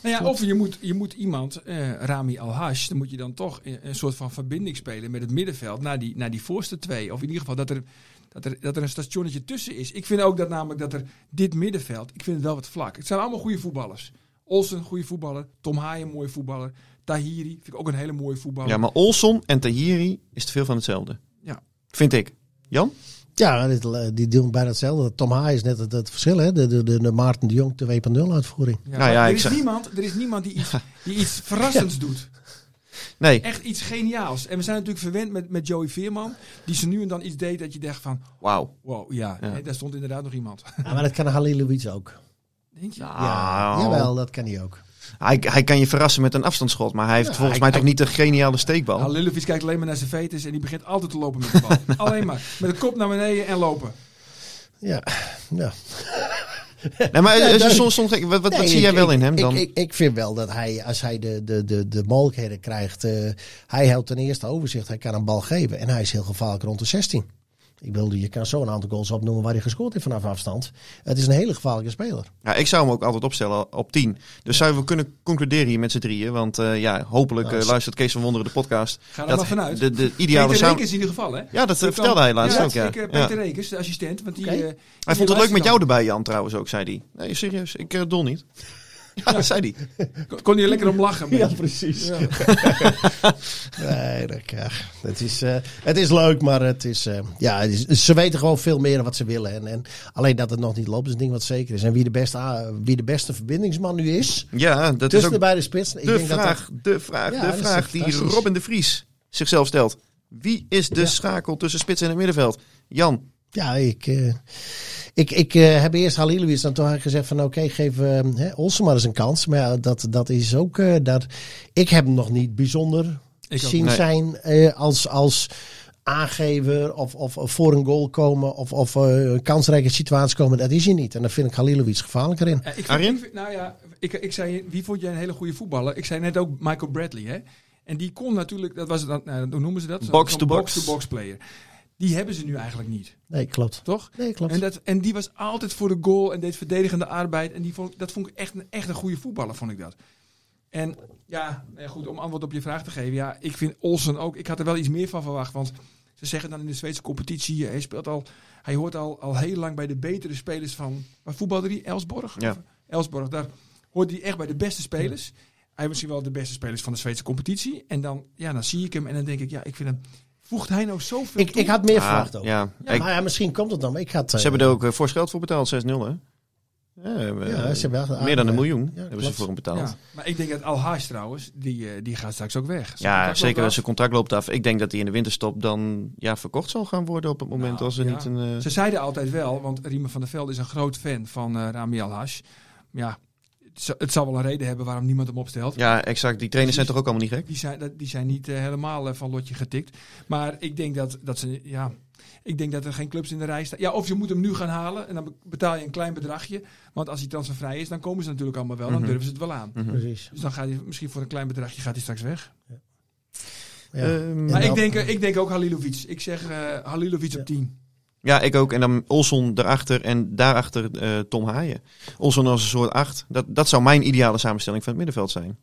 Speaker 2: Nou ja, of je moet, je moet iemand, eh, Rami Al-Hash, dan moet je dan toch eh, een soort van verbinding spelen met het middenveld naar die, naar die voorste twee. Of in ieder geval dat er, dat, er, dat er een stationnetje tussen is. Ik vind ook dat namelijk dat er dit middenveld, ik vind het wel wat vlak. Het zijn allemaal goede voetballers. Olsen, goede voetballer. Tom Haaien, mooie voetballer. Tahiri, vind ik ook een hele mooie voetballer.
Speaker 1: Ja, maar Olson en Tahiri is te veel van hetzelfde.
Speaker 2: Oh. Ja.
Speaker 1: Vind ik. Jan?
Speaker 3: Ja, dit, eh, die doen bijna hetzelfde. Tom Haai is net het, het verschil. Hè? De, de, de, de Maarten de Jong 2.0 uitvoering.
Speaker 2: Ja,
Speaker 1: Nou ja,
Speaker 2: maar er,
Speaker 1: ik
Speaker 2: is
Speaker 1: zeg-
Speaker 2: niemand, er is niemand die iets, die iets verrassends doet.
Speaker 1: Nee.
Speaker 2: Echt iets geniaals. En we zijn natuurlijk verwend met, met Joey Veerman, die ze nu en dan iets deed dat je dacht van,
Speaker 1: Wauw.
Speaker 2: wow, ja,
Speaker 1: Ja.
Speaker 2: hè, daar stond inderdaad nog iemand.
Speaker 3: Ja, maar dat kan Halilovic ook. Ah, oh.
Speaker 2: Denk je?
Speaker 3: Ja,
Speaker 1: Nou,
Speaker 3: jawel, dat kan hij ook.
Speaker 1: Hij, hij kan je verrassen met een afstandsschot. Maar hij heeft
Speaker 3: Ja,
Speaker 1: volgens
Speaker 3: hij-
Speaker 1: mij toch niet de geniale steekbal.
Speaker 2: Nou, Lillevies kijkt alleen maar naar zijn veters en die begint altijd te lopen met de bal. alleen maar. Met de kop naar beneden en lopen.
Speaker 3: Ja, ja.
Speaker 1: nee, maar
Speaker 3: Ja,
Speaker 1: eh,
Speaker 3: duidelijk.
Speaker 1: soms, soms, wat, wat,
Speaker 3: Nee,
Speaker 1: wat zie jij
Speaker 3: ik-
Speaker 1: wel
Speaker 3: ik-
Speaker 1: in hem
Speaker 3: ik-
Speaker 1: dan?
Speaker 3: Ik, ik, vind wel dat hij, als hij de, de, de, de mogelijkheden krijgt, eh, hij houdt ten eerste overzicht. Hij kan een bal geven en hij is heel gevaarlijk rond de 16. Ik bedoel, je kan zo een aantal goals opnoemen waar hij gescoord heeft vanaf afstand. Het is een hele gevaarlijke speler.
Speaker 1: Ja, Nou, ik zou hem ook altijd opstellen op 10. Dus zouden we kunnen concluderen hier met z'n drieën. Want eh, ja, hopelijk
Speaker 3: Nou,
Speaker 1: eh,
Speaker 3: s-
Speaker 1: luistert Kees van Wonderen de podcast.
Speaker 2: Ga er
Speaker 1: dat
Speaker 2: maar vanuit.
Speaker 1: De, de ideale
Speaker 2: Peter
Speaker 1: samen...
Speaker 2: Rekers in ieder geval, hè?
Speaker 1: Ja, dat eh,
Speaker 2: Die kan-
Speaker 1: vertelde hij laatst ook. Ja.
Speaker 2: ik, eh,
Speaker 1: Ja.
Speaker 2: Peter Rekers, de assistent. Want die,
Speaker 3: Oké.
Speaker 2: eh,
Speaker 3: Hij
Speaker 1: Hij
Speaker 2: die
Speaker 1: vond het leuk
Speaker 2: luistert
Speaker 1: met
Speaker 2: dan.
Speaker 1: jou erbij, Jan, trouwens ook, zei hij. Nee, serieus, ik eh, dol niet. Ja, dat zei hij.
Speaker 2: Kon- Kon hij er lekker om lachen. een beetje.
Speaker 3: precies.
Speaker 2: Ja.
Speaker 3: Nee, dat, ja, het, is, eh, het is leuk, maar het is, eh, ja, het is, ze weten gewoon veel meer dan wat ze willen. En, en alleen dat het nog niet loopt is een ding wat zeker is. En wie de beste, ah, wie de beste verbindingsman nu is,
Speaker 1: Ja, dat is
Speaker 3: tussen de
Speaker 1: ook
Speaker 3: beide spitsen. Dus ik
Speaker 1: de
Speaker 3: denk dat dat-
Speaker 1: vraag, de vraag,
Speaker 3: Ja,
Speaker 1: de
Speaker 3: dat is
Speaker 1: vraag
Speaker 3: toch
Speaker 1: die
Speaker 3: fantastisch.
Speaker 1: Robin de Vries zichzelf stelt. Wie is de
Speaker 3: Ja.
Speaker 1: schakel tussen spits en het middenveld? Jan,
Speaker 3: Ja, ik, eh, ik, ik eh, heb eerst Halilovic dan toch gezegd van oké, geef eh, hè, Olsen maar eens een kans. Maar ja, dat, dat is ook eh, dat. Ik heb hem nog niet bijzonder
Speaker 2: Ik ook
Speaker 3: zien
Speaker 1: niet.
Speaker 3: zijn eh, als, als aangever of, of, of voor een goal komen of, of eh, een kansrijke situatie komen. Dat is hij niet. En daar vind ik Halilovic gevaarlijker in.
Speaker 2: Ja, ik vind-
Speaker 1: Arjen?
Speaker 2: ik vind- nou ja, ik, ik zei, wie vond jij een hele goede voetballer? Ik zei net ook Michael Bradley, hè? En die kon natuurlijk, dat was het, dan- nou, hoe noemen ze dat? Zo'n-
Speaker 1: Box
Speaker 2: zo'n
Speaker 1: to box.
Speaker 2: box-to-box player. Die hebben ze nu eigenlijk niet,
Speaker 3: Nee, klopt.
Speaker 2: toch?
Speaker 3: Nee, klopt.
Speaker 2: En, dat, en die was altijd voor de goal en deed verdedigende arbeid. En die vond, dat vond ik echt een, echt een goede voetballer, vond ik dat. En ja, nou ja, goed, om antwoord op je vraag te geven. Ja, ik vind Olsen ook, ik had er wel iets meer van verwacht. Want ze zeggen dan in de Zweedse competitie, eh, hij speelt al, hij hoort al, al heel lang bij de betere spelers van, waar voetbalde die? Elsborg?
Speaker 1: Ja.
Speaker 2: Of Elsborg, daar hoort hij echt bij de beste spelers. Hij is misschien wel de beste spelers van de Zweedse competitie. En dan, ja, dan zie ik hem en dan denk ik, ja, ik vind hem, voegt hij nou zoveel
Speaker 3: Ik,
Speaker 2: toe?
Speaker 3: ik had meer
Speaker 1: Ah,
Speaker 3: verwacht ook.
Speaker 1: ja.
Speaker 3: Ja,
Speaker 1: Ik-
Speaker 3: maar ja, misschien komt het dan. maar Ik had, eh,
Speaker 1: ze hebben er ook eh, fors geld voor betaald, 6-0 hè? Ja, eh,
Speaker 3: ja, ze hebben echt
Speaker 1: meer dan een
Speaker 3: aardig-
Speaker 1: miljoen
Speaker 3: ja,
Speaker 1: hebben ze
Speaker 3: klopt.
Speaker 1: voor hem betaald.
Speaker 2: Ja, maar ik denk dat Al Haas trouwens, die, eh, die gaat straks ook weg. Zijn
Speaker 1: Ja,
Speaker 2: contract
Speaker 1: zeker
Speaker 2: loopt
Speaker 1: als zijn contract loopt af. Ik denk dat hij in de winterstop dan ja, verkocht zal gaan worden op het moment
Speaker 2: Nou,
Speaker 1: als er
Speaker 2: ja.
Speaker 1: niet een... eh,
Speaker 2: af. Ze zeiden altijd wel, want Riemen van der Velde is een groot fan van eh Rami Al Haas. Ja, het, zal- het zal wel een reden hebben waarom niemand hem opstelt.
Speaker 1: Ja, exact. Die trainers zijn toch ook allemaal niet gek?
Speaker 2: Die zijn, dat- die zijn niet eh, helemaal eh, van lotje getikt. Maar ik denk dat, dat ze. Ja, ik denk dat er geen clubs in de rij staan. Ja, of je moet hem nu gaan halen en dan be- betaal je een klein bedragje. Want als hij transfervrij is, dan komen ze natuurlijk allemaal wel. Dan
Speaker 1: Mhm.
Speaker 2: durven ze het wel aan.
Speaker 1: Mhm.
Speaker 3: Precies.
Speaker 2: Dus dan gaat hij misschien voor een klein bedragje gaat hij straks weg.
Speaker 3: Ja.
Speaker 1: Ehm,
Speaker 3: Ja.
Speaker 2: Maar ik
Speaker 3: dan-
Speaker 2: denk, eh, ik denk ook Halilovic. Ik zeg eh Halilovic
Speaker 3: Ja.
Speaker 2: op 10.
Speaker 1: ja, ik ook. En dan Olson erachter en daarachter eh, Tom Haaien. Olson als een soort acht. Dat, dat zou mijn ideale samenstelling van het middenveld zijn.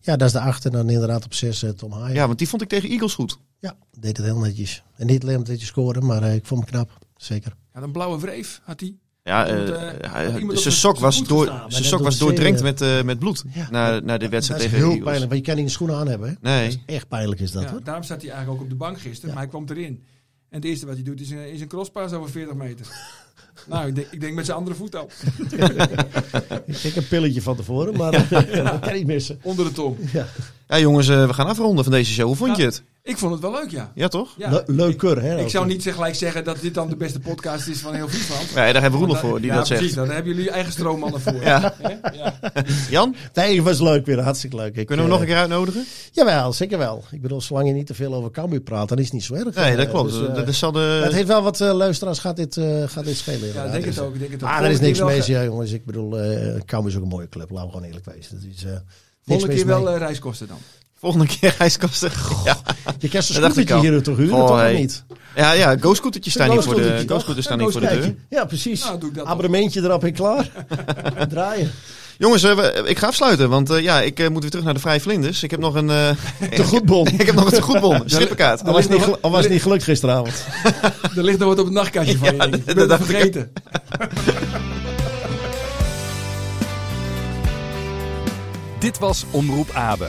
Speaker 3: ja, dat is de achter. En dan inderdaad op zes eh, Tom Haaien.
Speaker 1: Ja, want die vond ik tegen Eagles goed.
Speaker 3: Ja, deed het heel netjes. En niet alleen omdat je scoorde, maar eh, ik vond hem knap. Zeker.
Speaker 2: Ja, een blauwe wreef had hij.
Speaker 1: Ja,
Speaker 2: Iemand,
Speaker 1: eh,
Speaker 2: eh,
Speaker 1: hij-
Speaker 2: iemand op
Speaker 1: zijn
Speaker 2: zijn-
Speaker 1: sok
Speaker 2: zijn
Speaker 1: was,
Speaker 2: voet
Speaker 1: door,
Speaker 3: gestaan, maar
Speaker 1: zijn
Speaker 3: dat
Speaker 1: sok
Speaker 3: doet
Speaker 1: was
Speaker 3: zeer,
Speaker 1: doordrenkt
Speaker 3: eh,
Speaker 1: met, eh, met bloed.
Speaker 3: Ja.
Speaker 1: Na, na de
Speaker 3: Dat
Speaker 1: wedstrijd
Speaker 3: is
Speaker 1: tegen de
Speaker 3: heel
Speaker 1: Eagles.
Speaker 3: pijnlijk, want je kan niet een schoenen aan hebben. hè.
Speaker 1: Nee.
Speaker 3: Dat is echt pijnlijk is dat
Speaker 2: Ja,
Speaker 3: hoor.
Speaker 2: daarom staat hij eigenlijk ook op de bank gisteren,
Speaker 3: Ja.
Speaker 2: maar hij kwam erin. En het eerste wat hij doet is een, is een crosspaas over 40 meter. nou, ik denk, ik denk met zijn andere voet al.
Speaker 3: Ik denk een pilletje van tevoren, maar dat kan niet missen.
Speaker 2: Onder de tong.
Speaker 3: Ja.
Speaker 1: Ja, jongens, eh, we gaan afronden van deze show. Hoe vond
Speaker 2: Ja.
Speaker 1: je het?
Speaker 2: Ik vond het wel leuk, ja.
Speaker 1: Ja, toch?
Speaker 2: ja
Speaker 3: Le- leuker, hè?
Speaker 2: Ik,
Speaker 3: ook.
Speaker 2: ik zou niet zeg- gelijk zeggen dat dit dan de beste podcast is van heel Friesland.
Speaker 1: Ja, daar hebben we Roelof
Speaker 3: eh,
Speaker 2: Want
Speaker 1: voor, die
Speaker 2: ja,
Speaker 1: dat zegt.
Speaker 2: precies. Dan hebben jullie eigen stroommannen voor.
Speaker 1: Ja.
Speaker 2: Hè? ja.
Speaker 1: Jan,
Speaker 3: Nee, het was leuk weer. Hartstikke leuk. Ik,
Speaker 1: kunnen we hem nog een keer uitnodigen?
Speaker 3: keer? Jawel, zeker wel. Ik bedoel, zolang je niet te veel over Cambuur praat, dan is het niet zo erg.
Speaker 1: Nee, dat
Speaker 3: Eh,
Speaker 1: klopt.
Speaker 3: dus, eh,
Speaker 1: dat zal
Speaker 3: het
Speaker 1: de...
Speaker 3: heeft wel wat eh, luisteraars gaat dit, eh, gaat dit spelen.
Speaker 2: Ja,
Speaker 3: inderdaad.
Speaker 2: ik denk het
Speaker 3: Dus,
Speaker 2: ook. ik Denk het ook.
Speaker 3: Maar er is niks
Speaker 2: Volgende
Speaker 3: mee,
Speaker 2: keer wel-
Speaker 3: ja, jongens. Ik bedoel, eh Cambuur is ook een mooie club. Laten we gewoon eerlijk wezen. Dat is, eh, niks
Speaker 2: Volgende
Speaker 3: mis
Speaker 2: keer wel
Speaker 3: mee.
Speaker 2: eh, reiskosten dan.
Speaker 1: Volgende keer ijskasten. Ja.
Speaker 3: Je kan zo'n
Speaker 1: dat dacht ik
Speaker 3: scootertje
Speaker 1: al.
Speaker 3: hier toch huren,
Speaker 1: Oh,
Speaker 3: toch of
Speaker 1: hey.
Speaker 3: niet?
Speaker 1: Ja, ja, go-scootertjes staan hier voor de,
Speaker 3: Go-scootertje,
Speaker 1: go-scooters staan hier voor de
Speaker 3: Kijk,
Speaker 1: deur.
Speaker 3: Ja, precies.
Speaker 2: Nou, doe ik dat dan.
Speaker 3: Abonnementje erop en klaar. Draaien.
Speaker 1: Jongens, eh, we- ik ga afsluiten, want eh, ja, ik eh, moet weer terug naar de Vrije Vlinders. Ik heb nog een, eh,
Speaker 3: Te goed, Bon.
Speaker 1: ik heb nog een goedbon, strippenkaart.
Speaker 3: Al was het niet, gelu- al was het niet gelukt gisteravond.
Speaker 2: Er ligt nog wat op het nachtkastje van
Speaker 1: Ja,
Speaker 2: je. denk ik.
Speaker 1: dat-
Speaker 2: Ik ben
Speaker 1: dat
Speaker 2: het
Speaker 1: dacht ik.
Speaker 2: vergeten.
Speaker 5: Dit was Omroep Abe,